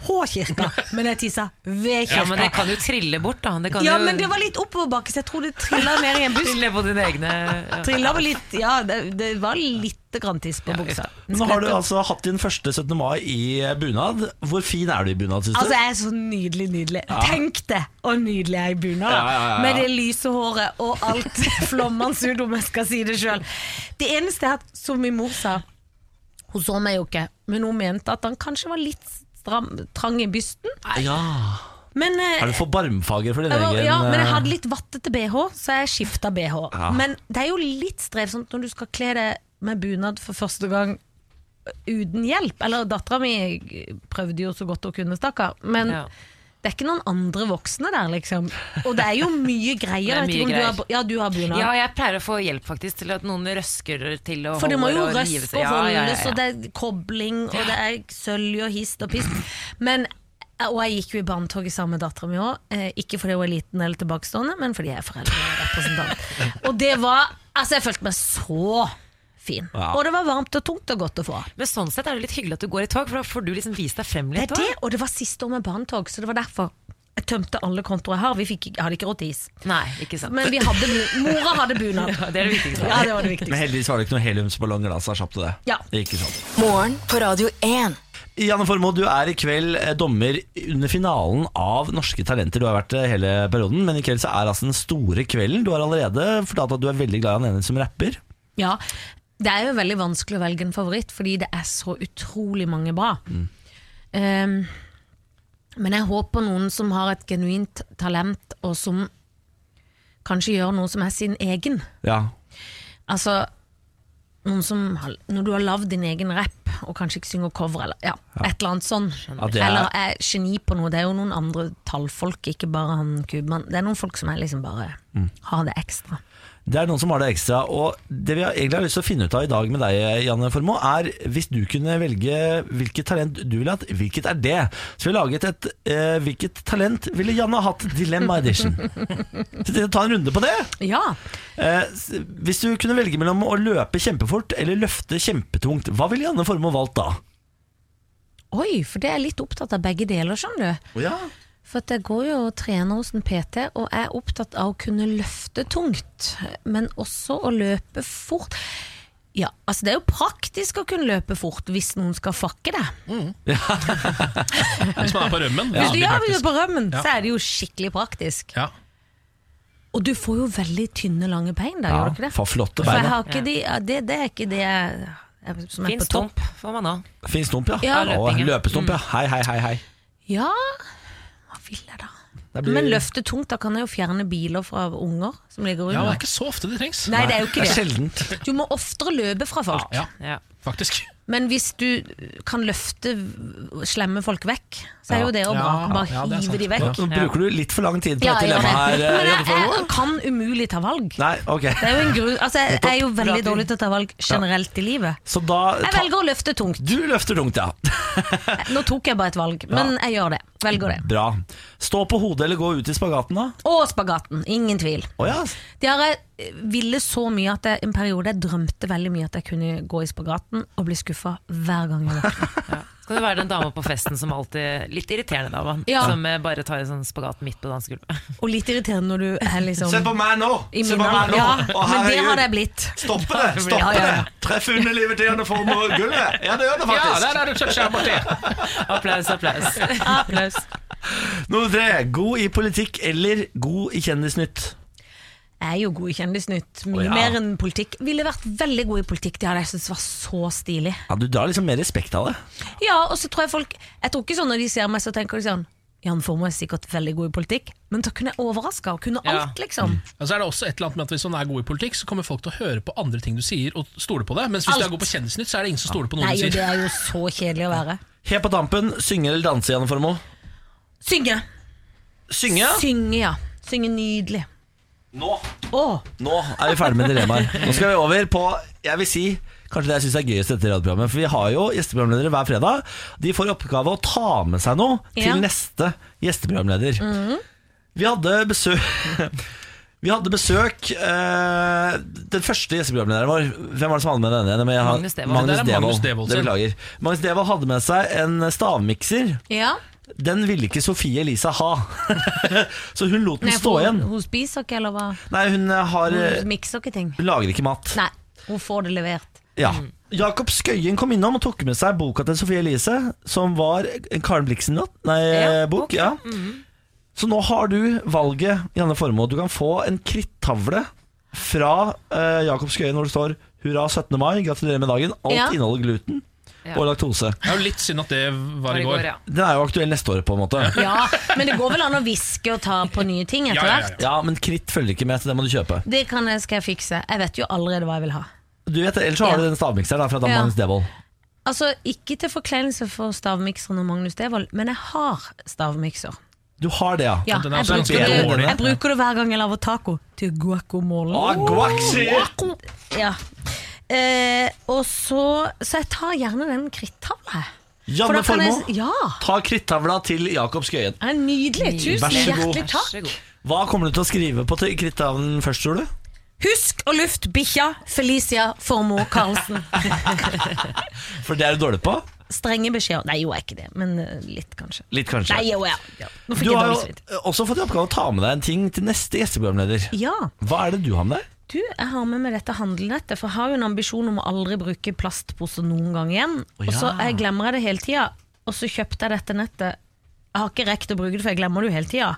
S5: på kirka, men jeg tissa ved kirka.
S3: Ja, men det sånn kan jo trille bort, da. Det kan
S5: Ja,
S3: jo
S5: men det var litt oppoverbakke, så jeg tror det trilla ned i en busk.
S3: trille på dine egne ja.
S5: Trilla vel litt, ja, det, det var litt grann tiss på buksa.
S1: Nå har du altså hatt din første 17. mai i bunad. Hvor fin er du i bunad, syns
S5: Altså,
S1: du?
S5: jeg er så nydelig, nydelig. Tenk det, og nydelig jeg er i bunad. da.
S1: Ja, ja, ja, ja.
S5: Med det lyse håret og alt flommende ut, om jeg skal si det sjøl. Det eneste er at, som min mor sa Hun så meg jo ikke, men hun mente at han kanskje var litt stram, trang i bysten.
S1: Ja.
S5: Men, eh,
S1: Er du for barmfager for din
S5: jeg var,
S1: egen
S5: ja, men jeg
S1: eh,
S5: hadde litt vattete BH, så jeg skifta BH.
S1: Ja.
S5: Men det er jo litt strevsomt når du skal kle deg med bunad for første gang eh, uten hjelp. Eller dattera mi prøvde jo så godt hun kunne, stakkar. Men
S3: Ja.
S5: det er ikke noen andre voksne der, liksom. Og det er jo mye greier.
S3: Det er
S5: Jeg vet ikke om
S3: mye
S5: Du har, ja, du har bunad.
S3: Ja, jeg pleier å få hjelp faktisk til at noen røsker til å
S5: For det må jo
S3: og rive
S5: røske
S3: seg.
S5: og
S3: Ja, ja, ja,
S5: holdes,
S3: ja.
S5: og det er kobling, og det er sølj og hist og pist. Men, og jeg gikk jo i barnetoget sammen med dattera mi òg. Eh, ikke fordi hun er liten eller tilbakestående, men fordi jeg er foreldrerepresentant. og det var Altså, jeg følte meg så fin.
S1: Ja.
S5: Og det var varmt og tungt og godt å få.
S3: Men sånn sett er det litt hyggelig at du går i tog, for da får du liksom vist deg frem
S5: Det
S3: litt.
S5: er det, og det var siste år med barnetog, så det var derfor. Jeg tømte alle kontoer jeg har. Vi fikk, jeg hadde ikke råd til is.
S3: da. Nei, ikke sant.
S5: Men vi hadde, bu- mora hadde bunad.
S3: Ja, det er det viktigste.
S5: Ja, det var det
S1: Men
S5: viktigste.
S1: heldigvis var det ikke noen heliumsballonger, da, så slapp du det.
S5: Ja.
S1: Ikke sant.
S4: Morgen på Radio 1.
S1: Janne Formoe, du er i kveld eh, dommer under finalen av Norske Talenter. Du har vært det hele perioden, men i kveld så er altså den store kvelden. Du har allerede fortalt at du er veldig glad i han ene som rapper.
S5: Ja, det er jo veldig vanskelig å velge en favoritt, fordi det er så utrolig mange bra.
S1: Mm.
S5: Ehm, men jeg håper noen som har et genuint talent, og som kanskje gjør noe som er sin egen.
S1: Ja.
S5: Altså, noen som har, når du har lagd din egen rap, og kanskje ikke synger cover, eller ja, et eller annet sånn.
S1: Ja, det er-
S5: Eller er geni på noe. Det er jo noen andre tallfolk, ikke bare han Kubmann. Det er noen folk som er liksom bare
S1: Mm.
S5: har det ekstra.
S1: Det er noen som har det ekstra. Og det vi har- egentlig har lyst til å finne ut av i dag med deg, Janne Formoe, er hvis du kunne velge hvilket talent du ville hatt, hvilket er det? Så vi har laget et eh, 'Hvilket talent ville Janne hatt?' Dilemma Edition. Så vi tar en runde på det.
S5: Ja,
S1: Eh, s- hvis du kunne velge mellom å løpe kjempefort eller løfte kjempetungt, hva ville Janne Formoe valgt da?
S5: oi, for det er jeg litt opptatt av begge deler, skjønner du. For at jeg går jo og trener hos en PT, og jeg er opptatt av å kunne løfte tungt, men også å løpe fort. Ja, altså Det er jo praktisk å kunne løpe fort hvis noen skal fakke deg.
S2: Hvis man er på rømmen.
S5: Hvis du
S2: veldig
S5: gjør det
S2: praktisk.
S5: på rømmen,
S2: Ja.
S5: så er det jo skikkelig praktisk.
S2: Ja.
S5: Og du får jo veldig tynne, lange bein der, gjør du ikke det?
S1: for flotte
S5: For jeg
S1: bein.
S5: har ikke de, ja, det, det er ikke det jeg, jeg som er
S3: Fins
S5: på topp.
S3: stump, får man òg.
S1: Fin stump, ja.
S5: Ja, Mm.
S1: Å,
S3: løping, ja.
S1: løpestump, ja. Hei, hei, hei. hei.
S5: Ja, hva vil jeg da?
S1: Det blir-
S5: Men løfte tungt, da kan jeg jo fjerne biler fra unger som ligger
S2: ja, det
S5: under.
S2: er ikke så ofte det trengs.
S5: Nei, det er jo
S1: Det
S5: ikke
S1: er
S5: det.
S1: sjeldent.
S5: Du må oftere løpe fra folk.
S2: Ja,
S3: Ja.
S2: faktisk.
S5: Men hvis du kan løfte slemme folk vekk, så er jo det å bare,
S2: Ja,
S5: bare
S2: ja, det er sant.
S5: hive de
S1: Nå
S5: vekk.
S1: nå bruker du litt for lang tid på
S5: Ja,
S1: dette
S5: jeg gjør det.
S1: dilemmaet her. eh,
S5: Men
S1: Janne
S5: jeg,
S1: Formoe.
S5: jeg kan umulig ta valg.
S1: Nei, ok.
S5: Det er jo en grunn, altså, jeg er jo veldig dårlig til å ta valg generelt i livet.
S1: Så da
S5: Jeg velger å løfte tungt.
S1: Du løfter tungt, ja.
S5: Nå tok jeg bare et valg, men jeg gjør det. Velger det.
S1: Bra. Stå på hodet eller gå ut i spagaten, da?
S5: Og spagaten. Ingen tvil.
S1: Å ja.
S5: Det har jeg eh, ville så mye at jeg, en periode jeg drømte veldig mye at jeg kunne gå i spagaten og bli skuffa hver gang jeg våkna.
S3: kan det være den dama på festen som alltid Litt irriterende dama,
S5: Ja.
S3: som eh, bare tar en sånn spagat midt på dansegulvet.
S5: Og litt irriterende når du er liksom
S1: Se på meg nå!
S5: i
S1: Se på meg
S5: middag.
S1: nå!
S5: Ja,
S1: Å,
S5: men det
S1: herregud.
S5: har det blitt.
S1: Stoppe det! stoppe
S5: Ja, ja.
S1: det Treff underlivet til henne for noe gulvet! Ja, det gjør det
S2: Ja,
S1: faktisk.
S2: der er det toucha borti!
S3: Applaus, applaus.
S5: Applaus.
S1: Nummer tre. God i politikk eller god i Kjendisnytt?
S5: Jeg er jo god i Kjendisnytt. Mye
S1: Å, ja.
S5: mer enn politikk. Ville vært veldig god i politikk. Det hadde jeg syntes var så stilig.
S1: Ja, Du drar liksom mer respekt av det.
S5: Ja, og så tror jeg folk Jeg tror ikke sånn når de ser meg, så tenker de sånn Jan Formoe er sikkert veldig god i politikk, men da kunne jeg overraska og kunne
S3: Ja.
S5: alt, liksom.
S1: Mm.
S2: Og så er det også et eller annet med at Hvis man er god i politikk, så kommer folk til å høre på andre ting du sier, og stole på det. Mens hvis du
S5: Alt.
S2: er god på Kjendisnytt, så er det ingen som stoler på noe
S5: Nei,
S2: du
S5: og
S2: sier.
S5: det er jo så kjedelig å være.
S1: Helt på tampen, synge eller danse, Janne Formoe?
S5: Synge.
S1: Synge?
S5: Synge, ja. Synge nydelig.
S1: Nå.
S5: Å!
S1: Nå er vi ferdig med dilemmaer. Nå skal vi over på jeg vil si, kanskje det jeg syns er gøyest i dette radioprogrammet. For vi har jo gjesteprogramledere hver fredag. De får i oppgave å ta med seg noe
S5: Ja.
S1: til neste gjesteprogramleder.
S3: Mm.
S1: Vi hadde besøk Vi hadde besøk eh, Den første gjesteprogramlederen vår Hvem var det som hadde med denne? igjen? Jeg har-
S3: Magnus Devold.
S2: Det der er Magnus
S1: Devold.
S2: Devold
S1: Det
S2: selv.
S1: beklager. Magnus Devold hadde med seg en stavmikser.
S5: Ja.
S1: Den ville ikke Sofie Elise ha. Så hun lot den
S5: Nei,
S1: stå
S5: for
S1: igjen.
S5: hun, hun spiser ikke, eller hva?
S1: Nei, hun eh, har
S5: Hun mikser ikke ting.
S1: Hun lager ikke mat.
S5: Nei, Mm. hun får det levert.
S1: Ja. Jakob Skøyen kom innom og tok med seg boka til Sofie Elise, som var en Karen Blixen-bok. Ja, eh,
S3: Ja,
S1: bok, ja.
S5: Mm.
S1: Så nå har du valget, Janne Formoe. Du kan få en krittavle fra eh, Jakob Skøyen hvor det står 'Hurra 17. mai, gratulerer med dagen'. Alt
S5: Ja.
S1: inneholder gluten
S3: Ja.
S1: og laktose.
S2: Det er jo litt synd at det var
S3: Bare
S2: i
S3: i
S2: går.
S3: går, ja.
S1: Den er jo aktuell neste år, på en måte.
S5: Ja, men det går vel an å hviske og ta på nye ting
S2: Ja,
S5: etter
S2: ja,
S5: hvert?
S2: ja.
S1: Ja, men kritt følger ikke med, så det må du kjøpe.
S5: Det kan jeg, skal jeg fikse. Jeg vet jo allerede hva jeg vil ha.
S1: Du vet, det, Ellers så har
S5: Ja.
S1: du den stavmikseren da, fra Dan
S5: Ja.
S1: Magnus Devold.
S5: Altså, Ikke til forkleinelse for stavmikseren og Magnus Devold, men jeg har stavmikser.
S1: Du har det, ja.
S5: Ja,
S2: Den
S5: jeg,
S2: er også
S5: bruker
S2: ganske
S5: det,
S2: dårlig.
S5: jeg bruker det hver gang jeg lager taco. Til guacamole.
S1: Ah, guac,
S5: Ja. Eh, og så, så jeg tar gjerne den krittavla. jeg. For da
S1: Janne
S5: kan jeg-
S1: Formoe,
S5: Ja,
S1: ta krittavla til Jakob Skøyen.
S5: det er
S1: Vær
S5: nydelig. Tusen
S1: så god.
S5: hjertelig
S3: Vær så
S5: takk.
S3: god.
S1: Hva kommer du til å skrive på til- krittavlen først, tror du?
S5: Husk å lufte bikkja Felicia Formoe Karlsen.
S1: For det er du dårlig på.
S5: Strenge beskjeder. Nei, jo, jeg er ikke det, men eh, litt, kanskje.
S1: Litt, kanskje.
S5: Nei, jo, ja. ja. Nå fikk
S1: du
S5: jeg
S1: har
S5: dårlig
S1: jo
S5: svidd.
S1: også fått i oppgave å ta med deg en ting til neste gjesteprogramleder.
S5: Ja.
S1: Hva er det du har med deg?
S5: Du, jeg har med meg dette handelnettet, for jeg har jo en ambisjon om å aldri bruke plastposer noen gang igjen. Og så jeg glemmer jeg det hele tida. Og så kjøpte jeg dette nettet. Jeg har ikke rekt å bruke det, for jeg glemmer det jo hele tida.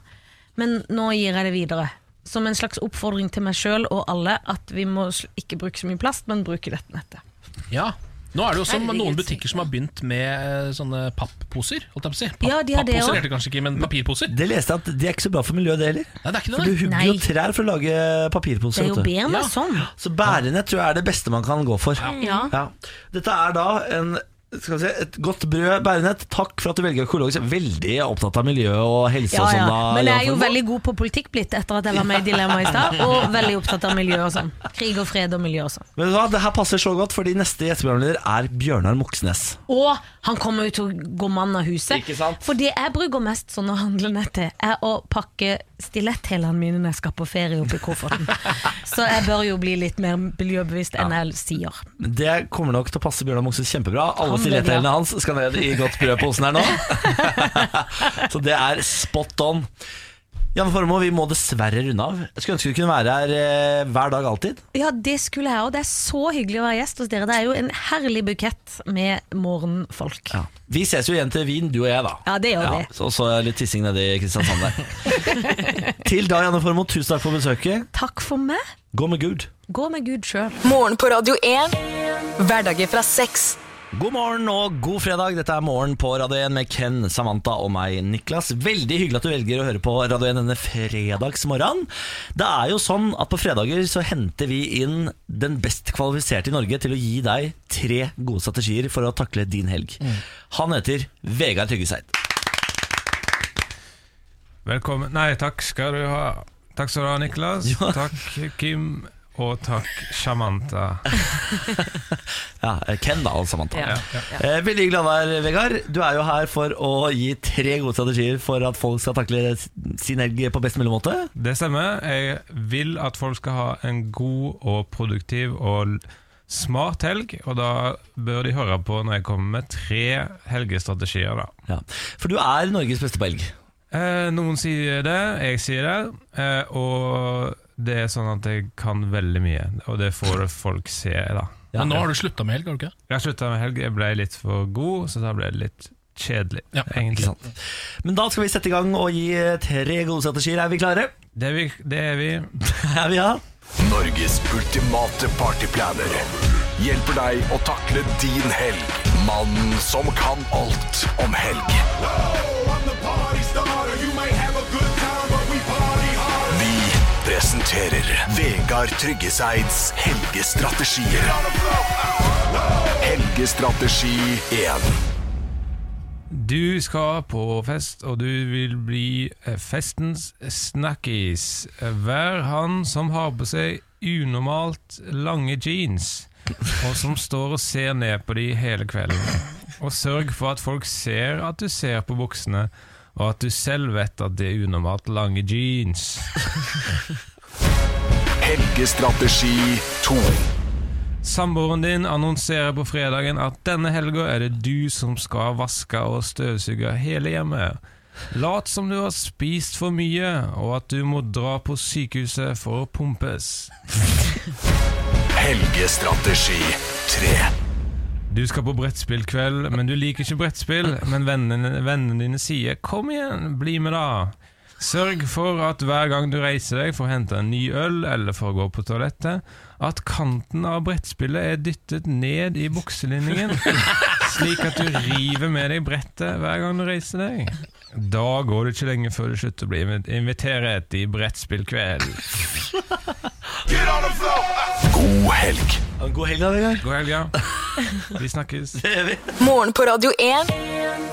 S5: Men nå gir jeg det videre. Som en slags oppfordring til meg sjøl og alle at vi må sl- ikke bruke så mye plast, men bruke dette nettet.
S2: Ja. Nå er det jo også
S3: Herregud,
S2: noen butikker som har begynt med eh, sånne papposer. Holdt jeg på å si. Papp,
S5: Ja, de har det
S2: pappposer
S5: også.
S2: heter det kanskje ikke, men papirposer.
S1: Det leste jeg at det er ikke så bra for miljøet, det heller.
S2: Nei, det er ikke
S1: For du
S2: det. nei.
S1: hugger
S5: Nei.
S1: jo trær for å lage
S5: Det
S1: papirposer.
S5: er jo
S1: vet du.
S5: bedre med
S2: Ja.
S5: sånn.
S1: Så bærende tror jeg er det beste man kan gå for.
S5: Ja.
S1: Ja. Dette er da en skal vi se, Et godt brød, Bærenett. Takk for at du velger økologisk. Veldig opptatt av miljø og helse.
S5: Ja,
S1: og
S5: ja.
S1: sånn da,
S5: Men jeg er
S1: Jan
S5: jo
S1: Formoe.
S5: veldig god på politikk blitt etter at jeg var med i Dilemma i stad, og veldig opptatt av miljø og sånn. Krig og fred og miljø og sånn.
S1: Vet du hva, Det her passer så godt, fordi neste gjesteprogramleder er Bjørnar Moxnes.
S5: Og han kommer jo til å gå mann av huset.
S1: Ikke sant?
S5: For det jeg bruker mest sånn å handle ned til, er å pakke stiletthælene mine når jeg skal på ferie oppi kofferten. Så jeg bør jo bli litt mer miljøbevisst enn jeg sier.
S1: Det kommer nok til å passe Bjørnar Moxnes kjempebra. Alle
S5: Han blir
S1: stiletthælene
S5: glad.
S1: hans skal ned i godt brødposen her nå. så det er spot on. Janne Formoe, vi må dessverre runde av. Jeg skulle ønske du kunne være her eh, hver dag alltid.
S5: Ja, det skulle jeg òg. Det er så hyggelig å være gjest hos dere. Det er jo en herlig bukett med morgenfolk. Ja,
S1: Vi ses jo igjen til Wien, du og jeg, da.
S5: det gjør vi.
S1: så, så litt tissing nede i Kristiansand der. til da, Janne Formoe, tusen takk for besøket.
S5: Takk for meg.
S1: Gå med Gud.
S5: Gå med Gud sjøl.
S4: Morgen på Radio 1. Hverdager fra seks.
S1: God morgen og god fredag. Dette er Morgen på Radio 1 med Ken, Samantha og meg, Niklas. Veldig hyggelig at du velger å høre på Radio 1 denne fredagsmorgenen. Det er jo sånn at på fredager så henter vi inn den best kvalifiserte i Norge til å gi deg tre gode strategier for å takle din helg.
S5: Mm.
S1: Han heter Vegard Tryggeseid.
S6: Velkommen Nei, takk skal du ha. Takk skal du ha, Niklas.
S1: Ja.
S6: Takk, Kim. Og takk, Samantha.
S1: Ja, Ken da, og Samantha.
S3: Ja,
S1: Eh, Veldig hyggelig å ha deg her, Vegard. Du er jo her for å gi tre gode strategier for at folk skal takle sin helg på best mulig måte.
S6: Det stemmer. Jeg vil at folk skal ha en god og produktiv og l- smart helg, og da bør de høre på når jeg kommer med tre helgestrategier. da.
S1: Ja. For du er Norges beste belg.
S6: Eh, noen sier det, jeg sier det, eh, og det er sånn at jeg kan veldig mye, og det får folk se, da.
S1: Ja,
S2: Men nå
S1: ja.
S2: har du slutta med helg, har du ikke?
S6: Jeg slutta med helg, jeg ble litt for god, så da ble det litt kjedelig,
S2: Ja,
S6: egentlig.
S1: Ikke sant? Men da skal vi sette i gang og gi tre gode strategier. Er vi klare?
S6: Det er vi. Det er vi.
S1: Er vi ja?
S7: Norges ultimate partyplaner hjelper deg å takle din helg. Mannen som kan alt om helg. Vi presenterer Vegard Tryggeseids helgestrategier. Helgestrategi 1.
S6: Du skal på fest, og du vil bli eh, festens snakkis. Vær han som har på seg unormalt lange jeans, og som står og ser ned på de hele kvelden. Og sørg for at folk ser at du ser på buksene, og at du selv vet at det er unormalt lange jeans.
S7: Helgestrategi 2.
S6: Samboeren din annonserer på fredagen at denne helga er det du som skal vaske og støvsuge hele hjemmet. Lat som du har spist for mye, og at du må dra på sykehuset for å pumpes.
S7: Helgestrategi 3.
S6: Du skal på brettspillkveld, men du liker ikke brettspill. Men vennene, vennene dine sier 'kom igjen, bli med da'. Sørg for at hver gang du reiser deg for å hente en ny øl eller for å gå på toalettet, at kanten av brettspillet er dyttet ned i bukselinningen, slik at du river med deg brettet hver gang du reiser deg. Da går det ikke lenge før du slutter å bli invit- invitert i brettspillkveld.
S7: God helg.
S1: God helg, da, Vegard.
S6: God helg, ja. Vi snakkes.
S4: Morgen på Radio 1.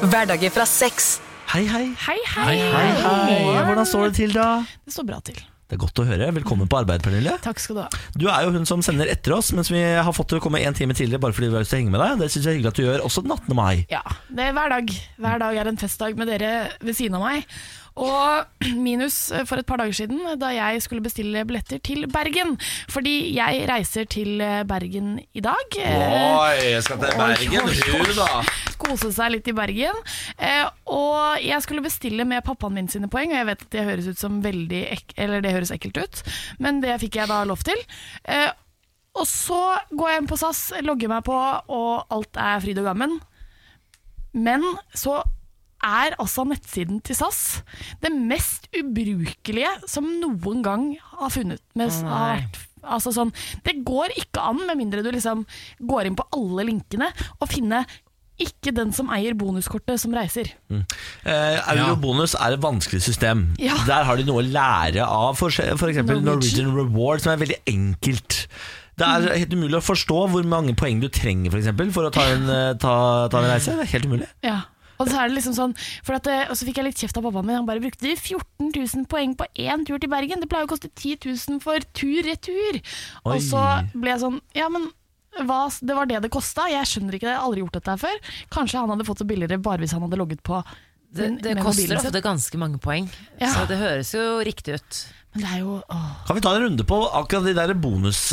S4: Hverdager fra seks.
S1: Hei, hei.
S8: Hei, hei.
S1: Hei, Hvordan står det til, da?
S8: Det står bra til.
S1: Det er godt å høre. Velkommen på arbeid, Pernille.
S8: Takk skal du ha.
S1: Du er jo hun som sender etter oss, mens vi har fått til å komme en time tidligere bare fordi vi har lyst til å henge med deg. Det syns jeg er hyggelig at du gjør, også den 18. mai.
S8: Ja, det er hver dag. Hver dag er en festdag med dere ved siden av meg. Og minus eh, for et par dager siden, da jeg skulle bestille billetter til Bergen. Fordi jeg reiser til eh, Bergen i dag. Eh,
S1: jeg skal til Bergen, du da.
S8: Kose seg litt i Bergen. Eh, og jeg skulle bestille med pappaen min sine poeng, og jeg vet at det høres, ut som veldig ek eller det høres ekkelt ut, men det fikk jeg da lov til. Eh, og så går jeg inn på SAS, logger meg på, og alt er fryd og gammen. Men så er altså nettsiden til SAS det mest ubrukelige som noen gang har funnet med
S3: Å, nei.
S8: har vært Altså sånn, det går ikke an med mindre du liksom går inn på alle linkene og finne ikke den som eier bonuskortet som reiser.
S1: Eh, Eurobonus er et vanskelig system.
S8: Ja.
S1: Der har de noe å lære av f.eks. Norwegian.
S8: Norwegian Mm.
S1: Norwegian Reward, som er veldig enkelt. Det er helt umulig å forstå hvor mange poeng du trenger for, eksempel, for å ta en, eh, ta, ta en reise. Det er helt umulig.
S8: Ja. Og så er det liksom sånn for at, eh, Og så fikk jeg litt kjeft av pappaen min. Han bare brukte 14 000 poeng på én tur til Bergen. Det pleier å koste 10 000 for tur-retur.
S1: Oi.
S8: Og så ble jeg sånn Ja, men hva, s- det var det det kosta. Jeg skjønner ikke det. Jeg har aldri gjort dette her før. Kanskje han hadde fått det billigere bare hvis han hadde logget på.
S3: Det,
S8: med-
S3: det
S8: med
S3: koster
S8: mobilen sin.
S3: ofte ganske mange poeng,
S8: Ja.
S3: så det høres jo riktig ut.
S8: Men det er jo åh.
S1: Kan vi ta en runde på akkurat de der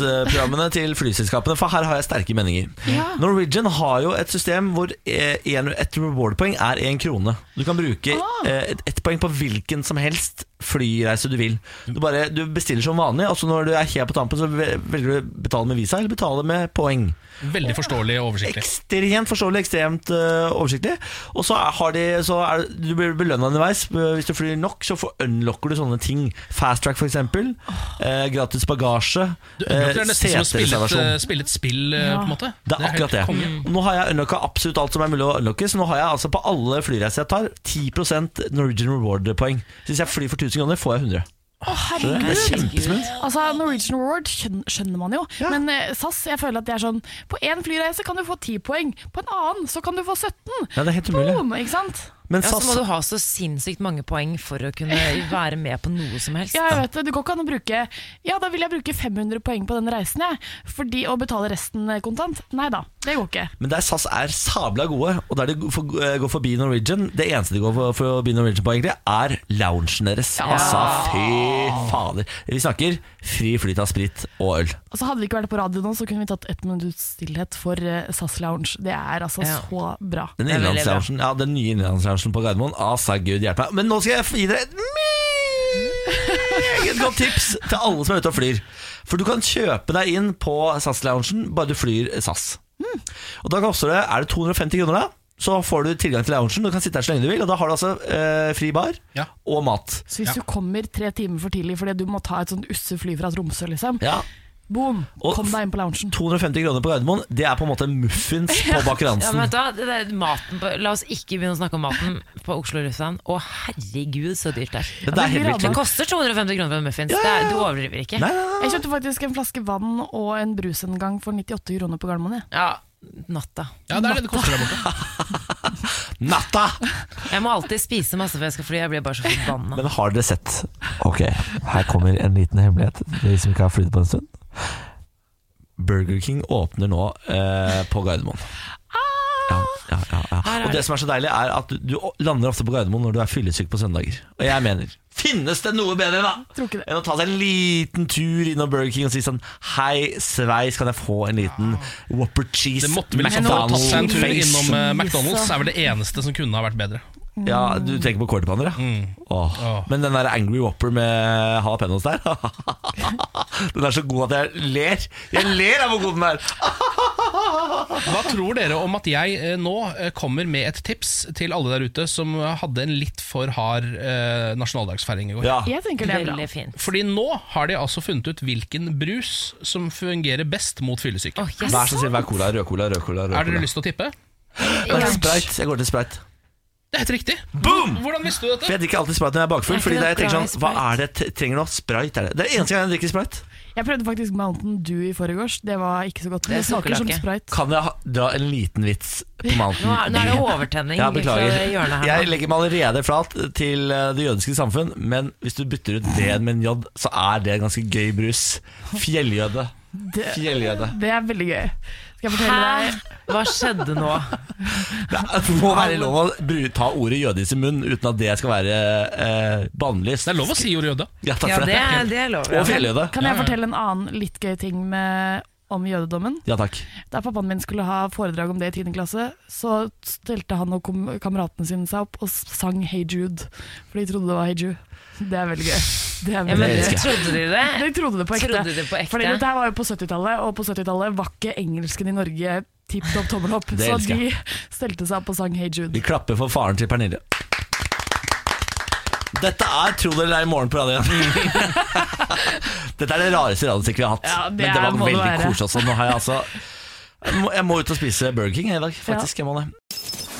S1: bonusprogrammene til flyselskapene? For her har jeg sterke meninger.
S8: Ja.
S1: Norwegian har jo et system hvor eh, en- et reward-poeng er én krone. Du kan bruke
S8: Ah.
S1: eh, et- ett poeng på hvilken som helst flyreise du vil. Du, bare, du bestiller som vanlig, og så når du er helt på tampen, så ve- velger du å betale med visa eller betale med poeng.
S2: Veldig forståelig og oversiktlig.
S1: Ekstremt forståelig, ekstremt eh, oversiktlig. Og så er- har de så er, Du blir belønna underveis. Eh, Hvis du flyr nok, så får unlocker du sånne ting. Fast track, f.eks. Eh, gratis bagasje.
S2: Du, det er
S1: eh,
S2: nesten som å spille et, eh,
S1: setereservasjon.
S2: spille et spill, eh,
S8: Ja. Mm.
S2: på en måte.
S1: Det er
S2: helt
S1: akkurat det.
S2: konge.
S1: Nå har jeg unlocka absolutt alt som er mulig å unlocke. Så nå har jeg altså på alle flyreiser jeg tar, 10 Norwegian Reward-poeng. Så Hvis jeg flyr for 1000 kroner, får jeg 100.
S8: Å, herregud!
S1: Det er kjempesmooth.
S8: Altså, Norwegian Reward skjøn- skjønner man jo,
S1: Ja.
S8: men eh, SAS jeg føler at det er sånn På én flyreise kan du få 10 poeng, på en annen så kan du få 17.
S1: Ja, det er helt umulig.
S8: Boom, ikke sant?
S1: Men
S3: ja, så
S1: SAS
S3: må du ha så sinnssykt mange poeng for å kunne være med på noe som helst.
S8: Ja, jeg vet det. Det går ikke an å bruke Ja, da vil jeg bruke 500 poeng på den reisen, jeg. Fordi å betale resten kontant. Nei da, det går ikke.
S1: Men der SAS er sabla gode, og der de går for- eh, går forbi Norwegian Det eneste de går for, forbi Norwegian på, egentlig, er loungen deres. Altså, fy fader. Vi snakker fri flyt av sprit og øl.
S8: Altså Hadde vi ikke vært på radio nå, så kunne vi tatt ett minutts stillhet for eh, SAS Lounge. Det er altså så bra.
S1: Den innenlandsloungen ja, den nye innenlandsloungen på Gardermoen. Altså, gud hjelpe meg. Men nå skal jeg gi dere et meget godt tips til alle som er ute og flyr. For du kan kjøpe deg inn på SAS-loungen bare du flyr SAS.
S8: Mm.
S1: Og da koster det Er det 250 kroner, da? Så får du tilgang til loungen. Du kan sitte her så lenge du vil, og da har du altså eh, fri bar og mat.
S8: Så hvis du kommer tre timer for tidlig fordi du må ta et sånt usse fly fra Tromsø, liksom.
S1: Ja.
S8: Boom!
S1: Og
S8: Kom deg inn på loungen.
S1: 250 kroner på Gardermoen, det er på en måte muffins på
S3: Ja,
S1: Bakeransen.
S3: men vet du hva? Det der maten på, la oss ikke begynne å snakke om maten på Oslo lufthavn. Å herregud, så dyrt det er.
S1: Men det er helt vilt.
S3: det koster 250 kroner for en muffins. Det er, du overdriver ikke.
S8: Jeg kjøpte faktisk en flaske vann og en brus en gang for 98 kroner på Gardermoen. jeg.
S3: Ja, natta.
S2: Ja, det er det det koster der borte.
S1: Natta!
S3: Jeg må alltid spise masse før jeg skal fly. Jeg blir bare så forbanna.
S1: Men har dere sett Ok, her kommer en liten hemmelighet De som ikke har flyttet på en stund Burger King åpner nå eh, på Gardermoen ja, ja, ja, ja.
S3: Ah! Her er
S1: Og det
S3: det.
S1: som er så deilig er at du, du lander ofte på Gardermoen Når du er fyllesyk på søndager Og jeg mener, finnes det noe bedre da? Enn å ta seg en liten tur innom Burger King Og si sånn, hei sveis Kan jeg få en liten
S3: Ah.
S1: Whopper Cheese
S2: Det måtte vel i så fall tatt seg en tur innom eh, McDonald's. er vel det
S1: ene
S2: eneste som kunne ha vært bedre.
S1: ja, du tenker på kålpanner, ja? Åh. Men den der Angry Whopper med jalapeños der Den er så god at jeg ler. Jeg ler av hvor god den er!
S2: Hva tror dere om at jeg eh, nå eh, kommer med et tips til alle der ute som eh, hadde en litt for hard eh, nasjonaldagsfeiring i går?
S8: Jeg tenker det er bra.
S3: Veldig fint.
S2: Fordi nå har de altså funnet ut hvilken brus som fungerer best mot fyllesyke.
S1: Vær så snill, vær cola, rød cola, rød cola. Rød
S2: Er dere
S1: cola.
S2: lyst til å tippe?
S1: Jeg går til Sprite. Jeg går til Sprite.
S2: Det er helt riktig.
S1: Boom!
S2: Hvordan visste du
S1: For jeg
S2: dette?
S1: drikker alltid Sprite når jeg er bakfull.
S2: Er ikke
S1: Fordi
S2: det
S1: da jeg tenker
S2: bra i
S1: sånn, Hva er det jeg trenger nå? Sprite er det. Det er eneste gang jeg drikker Sprite.
S8: Jeg prøvde faktisk Mountain Dew i forgårs. Det var ikke så godt. men Det smaker som sprite.
S1: Kan jeg ha, dra en liten vits på Mountain
S3: Nå er- nå er det
S1: Dew?
S3: overtenning
S1: Ja, beklager.
S3: fra hjørnet her nå.
S1: Jeg legger meg allerede flat til eh, det jødiske samfunn, men hvis du bytter ut D-en med en J, så er det en ganske gøy brus. Fjelljøde.
S8: Det-
S1: Fjelljøde.
S8: Det er veldig gøy. Skal jeg fortelle
S3: Hæ?
S8: deg
S3: Hva skjedde nå?
S1: Det er- må være lov å bru- ta ordet jøde i sin munn uten at det skal være eh, bannlyst.
S2: Det er lov å si ordet jøde.
S1: Ja, takk
S3: Ja,
S1: for det.
S3: det er- det er lov, ja.
S1: Og fjelljøde.
S8: Kan jeg fortelle en annen litt gøy ting med, om jødedommen?
S1: Ja takk.
S8: Da pappaen min skulle ha foredrag om det i 10. klasse, så stelte han og kom, kameratene sine seg opp og sang Hey Jude, for de trodde det var Hey Jude. Det er veldig gøy. Det er
S3: Ja, men
S8: veldig gøy.
S3: trodde de det?
S8: De trodde det på ekte.
S3: Trodde de det på ekte?
S8: Fordi dette her var jo på 70-tallet, og på 70-tallet var ikke engelsken i Norge tipp topp tommel opp.
S1: Det
S8: Så
S1: elsker
S8: de
S1: jeg.
S8: stelte seg opp og sang Hey Jude.
S1: Vi klapper for faren til Pernille. Dette er Tro det eller ei i morgen på radioen. Dette er det rareste radiostykket vi har hatt.
S8: Ja, det
S1: Men det var
S8: må det
S1: veldig
S8: være.
S1: koselig også. Nå har jeg altså jeg må, jeg må ut og spise Burger King i dag, faktisk. Jeg må det.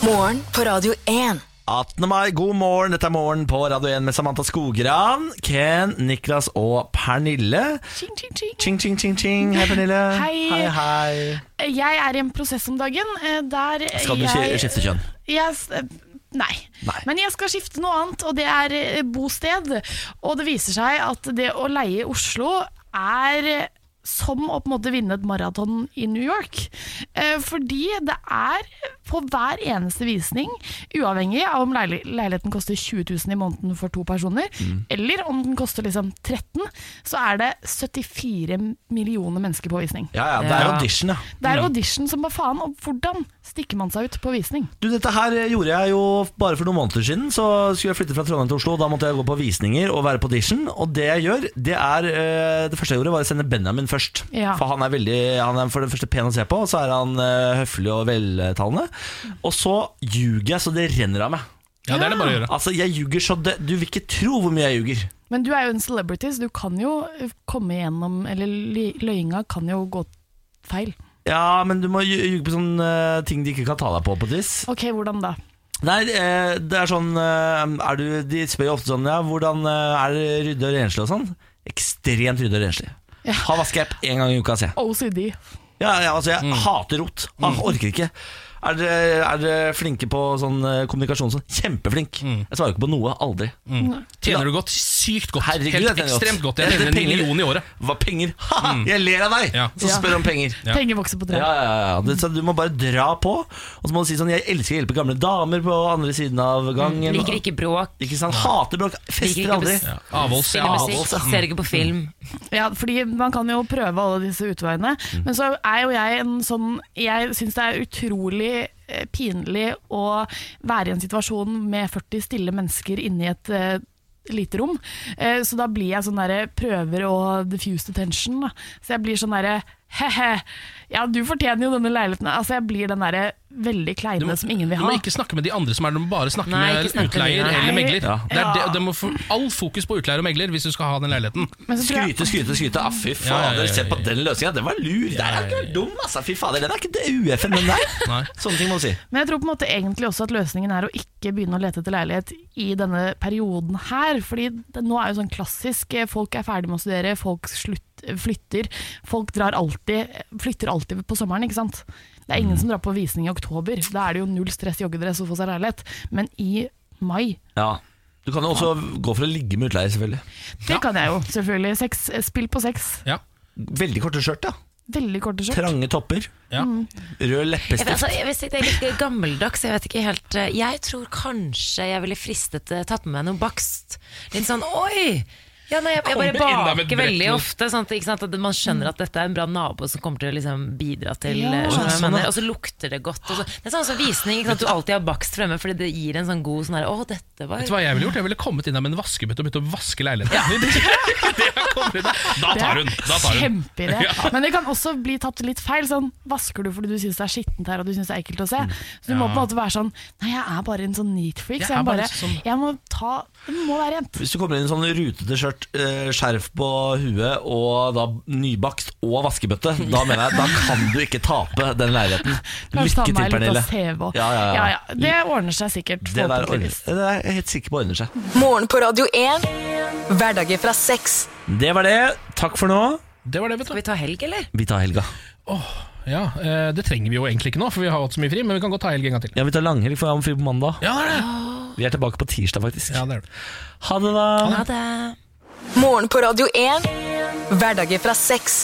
S4: Morgen på Radio 1.
S1: 18. mai, god morgen. Dette er morgen på Radio 1 med Samantha Skogran, Ken, Niklas og Pernille.
S8: Ching, ching, ching.
S1: Ching, ching, ching, ching. Hei, Pernille.
S8: Hei.
S1: hei. hei.
S8: Jeg er i en prosess om dagen eh, der
S1: Skal du
S8: jeg,
S1: skje- skifte kjønn?
S8: Jeg s- eh, nei. Men jeg skal skifte noe annet, og det er eh, bosted. Og det viser seg at det å leie i Oslo er eh, som å på en måte vinne et maraton i New York. Eh, Fordi det er på hver eneste visning, uavhengig av om leili- leiligheten koster 20 000 i måneden for to personer,
S9: Mm.
S8: eller om den koster liksom 13 så er det 74 millioner mennesker på visning.
S1: Ja, ja, det er audition, ja.
S8: Det er audition som bare faen, og hvordan stikker man seg ut på visning?
S1: Du, dette her gjorde jeg jo bare for noen måneder siden. Så skulle jeg flytte fra Trondheim til Oslo. og Da måtte jeg gå på visninger og være på audition. Og det jeg gjør, det er eh, Det første jeg gjorde, var å sende Benjamin først.
S10: Ja.
S1: For han er veldig Han er for det første pen å se på, og så er han eh, høflig og veltalende. Og så ljuger jeg så det renner av meg.
S2: Ja, det er det bare å gjøre.
S1: Altså, jeg ljuger så det Du vil ikke tro hvor mye jeg ljuger.
S8: Men du er jo en celebrity, så du kan jo komme igjennom Eller li- løyinga kan jo gå feil.
S1: Ja, men du må lju- ljuge på sånne eh, ting de ikke kan ta deg på, på et vis.
S8: Ok, hvordan da?
S1: Nei, eh, det er sånn eh, er du, De spør jo ofte sånn Ja, hvordan eh, er det rydde og renslig og sånn? Ekstremt rydde og renslig. Ha vaskeapp én gang i uka, sier jeg.
S8: OCD.
S2: Mm.
S1: Ja, ja, altså, jeg hater rot. Jeg orker ikke. Er dere, er dere flinke på sånn eh, kommunikasjon? Sånn? Kjempeflink. Jeg svarer ikke på noe. Aldri.
S2: Mm. Tjener du godt? Sykt godt.
S1: Herregud,
S2: Helt
S1: jeg tjener
S2: ekstremt godt. Jeg tjener en
S1: penger.
S2: million i året. Mm.
S1: Hva penger? Ha, jeg ler av deg
S2: Ja.
S1: som
S8: Ja.
S1: spør om penger.
S8: Penger vokser på trær.
S1: Ja, ja, ja. Det, så du må bare dra på. Og så må du si sånn Jeg elsker å hjelpe gamle damer på andre siden av gangen.
S3: Liker ikke bråk.
S1: Ikke sant? Hater bråk.
S3: Liker
S1: Fester
S3: ikke
S1: aldri.
S3: bes- Spiller musikk, ser ikke på film.
S8: Ja, fordi Man kan jo prøve alle disse utveiene,
S2: Mm.
S8: men så er jo jeg en sånn Jeg syns det er utrolig eh, pinlig å være i en situasjon med 40 stille mennesker inni et eh, lite rom. Eh, så da blir jeg sånn derre prøver å diffuse attention. Da. Så jeg blir sånn derre he-he, ja du fortjener jo denne leiligheten. Altså Jeg blir den derre veldig kleine som ingen vil
S2: Du
S8: ha.
S2: må ikke snakke med de andre som er der, du må bare snakke
S8: Nei,
S2: med
S8: ikke snakke med
S2: utleier
S8: de, nei.
S2: eller megler.
S8: Ja.
S2: Det er det, det må få all fokus på utleier og megler hvis du skal ha den leiligheten.
S8: Men så tror jeg-
S1: Skryte, skryte, skryte. Ah, fy
S2: Ja, ja, ja,
S1: fader,
S2: ja, ja.
S1: se på den løsninga. Den var lur. Den er ikke dum, altså. Fy fader, den er ikke det UFN, den
S2: Nei.
S1: der. Sånne ting må du si.
S8: Men jeg tror på en måte egentlig også at løsningen er å ikke begynne å lete etter leilighet i denne perioden her. Fordi det, nå er jo sånn klassisk eh, folk er ferdig med å studere, folk slutt, eh, flytter. Folk drar alltid, flytter alltid på sommeren, ikke sant. Det er ingen som drar på visning i oktober. Da er det jo null stress joggedress å få seg leilighet. Men i mai
S1: Ja. Du kan jo også gå for å ligge med utleier, selvfølgelig.
S8: Det kan jeg jo, selvfølgelig. Sex, eh, spill på sex.
S1: Veldig korte skjørt, ja.
S8: Veldig korte skjørt.
S1: Trange topper.
S8: Mm.
S1: Rød
S3: Jeg, vet-
S1: leppestift.
S3: altså, jeg, vet ikke, det er litt gammeldags. Jeg vet ikke helt eh, Jeg tror kanskje jeg ville fristet eh, tatt med meg noe bakst. Litt sånn oi! Ja, nei, jeg, jeg bare
S2: Kommer inn der med
S3: baker
S2: et brett
S3: veldig
S2: med-
S3: ofte. Sånn at, ikke sant, at man skjønner at dette er en bra nabo som kommer til å liksom, bidra til
S2: Ja.
S3: eh, skjønner du hva jeg
S2: Sånn,
S3: mener?
S2: ja.
S3: Og så lukter det godt. Og så. Det er sånn som visning. Ikke sant, at du alltid har bakst fremme fordi det gir en sånn god sånn her Å, dette var
S2: Vet du hva jeg ville gjort? Jeg ville kommet inn der med en vaskebøtte og begynt å vaske leiligheten. da tar hun! Da tar hun.
S8: Kjempeidé.
S2: Ja.
S8: Men det kan også bli tatt litt feil. Sånn, vasker du fordi du syns det er skittent her og du synes det er ekkelt å se? Så du må på
S1: Mm. Ja.
S8: en måte være sånn Nei, jeg er bare en sånn neat freak.
S1: Jeg
S8: Så
S1: er
S8: jeg, bare,
S1: bare sånn-
S8: jeg må ta Det må være rent.
S1: Hvis du kommer inn i en sånn rutete skjørt, eh, skjerf på huet og da nybakst og vaskebøtte, da mener jeg, da kan du ikke tape den leiligheten.
S8: Kanskje ta
S1: Lykke til,
S8: meg litt
S1: Pernille.
S8: av CV og
S1: Ja, ja, ja.
S8: Ja, ja. Det ordner seg sikkert.
S1: Det der ordner,
S8: forhåpentligvis.
S1: det er jeg helt sikker på ordner seg.
S4: Morgen på Radio 1. Hverdager fra seks.
S1: Det var det. Takk for nå.
S2: Det var det, vet du.
S3: Skal vi ta helg, eller?
S1: Vi tar helga.
S2: Ja, eh, Det trenger vi jo egentlig ikke nå, for vi har hatt så mye fri, men vi kan godt ta helg en gang til.
S1: Ja, vi tar langhelg, for jeg har fri på mandag.
S2: Ja, det er det.
S1: Vi er tilbake på tirsdag, faktisk.
S2: Ja, det er det.
S1: Ha det, da.
S4: Ha
S3: det.
S4: Morgen på Radio 1. Hverdager fra seks.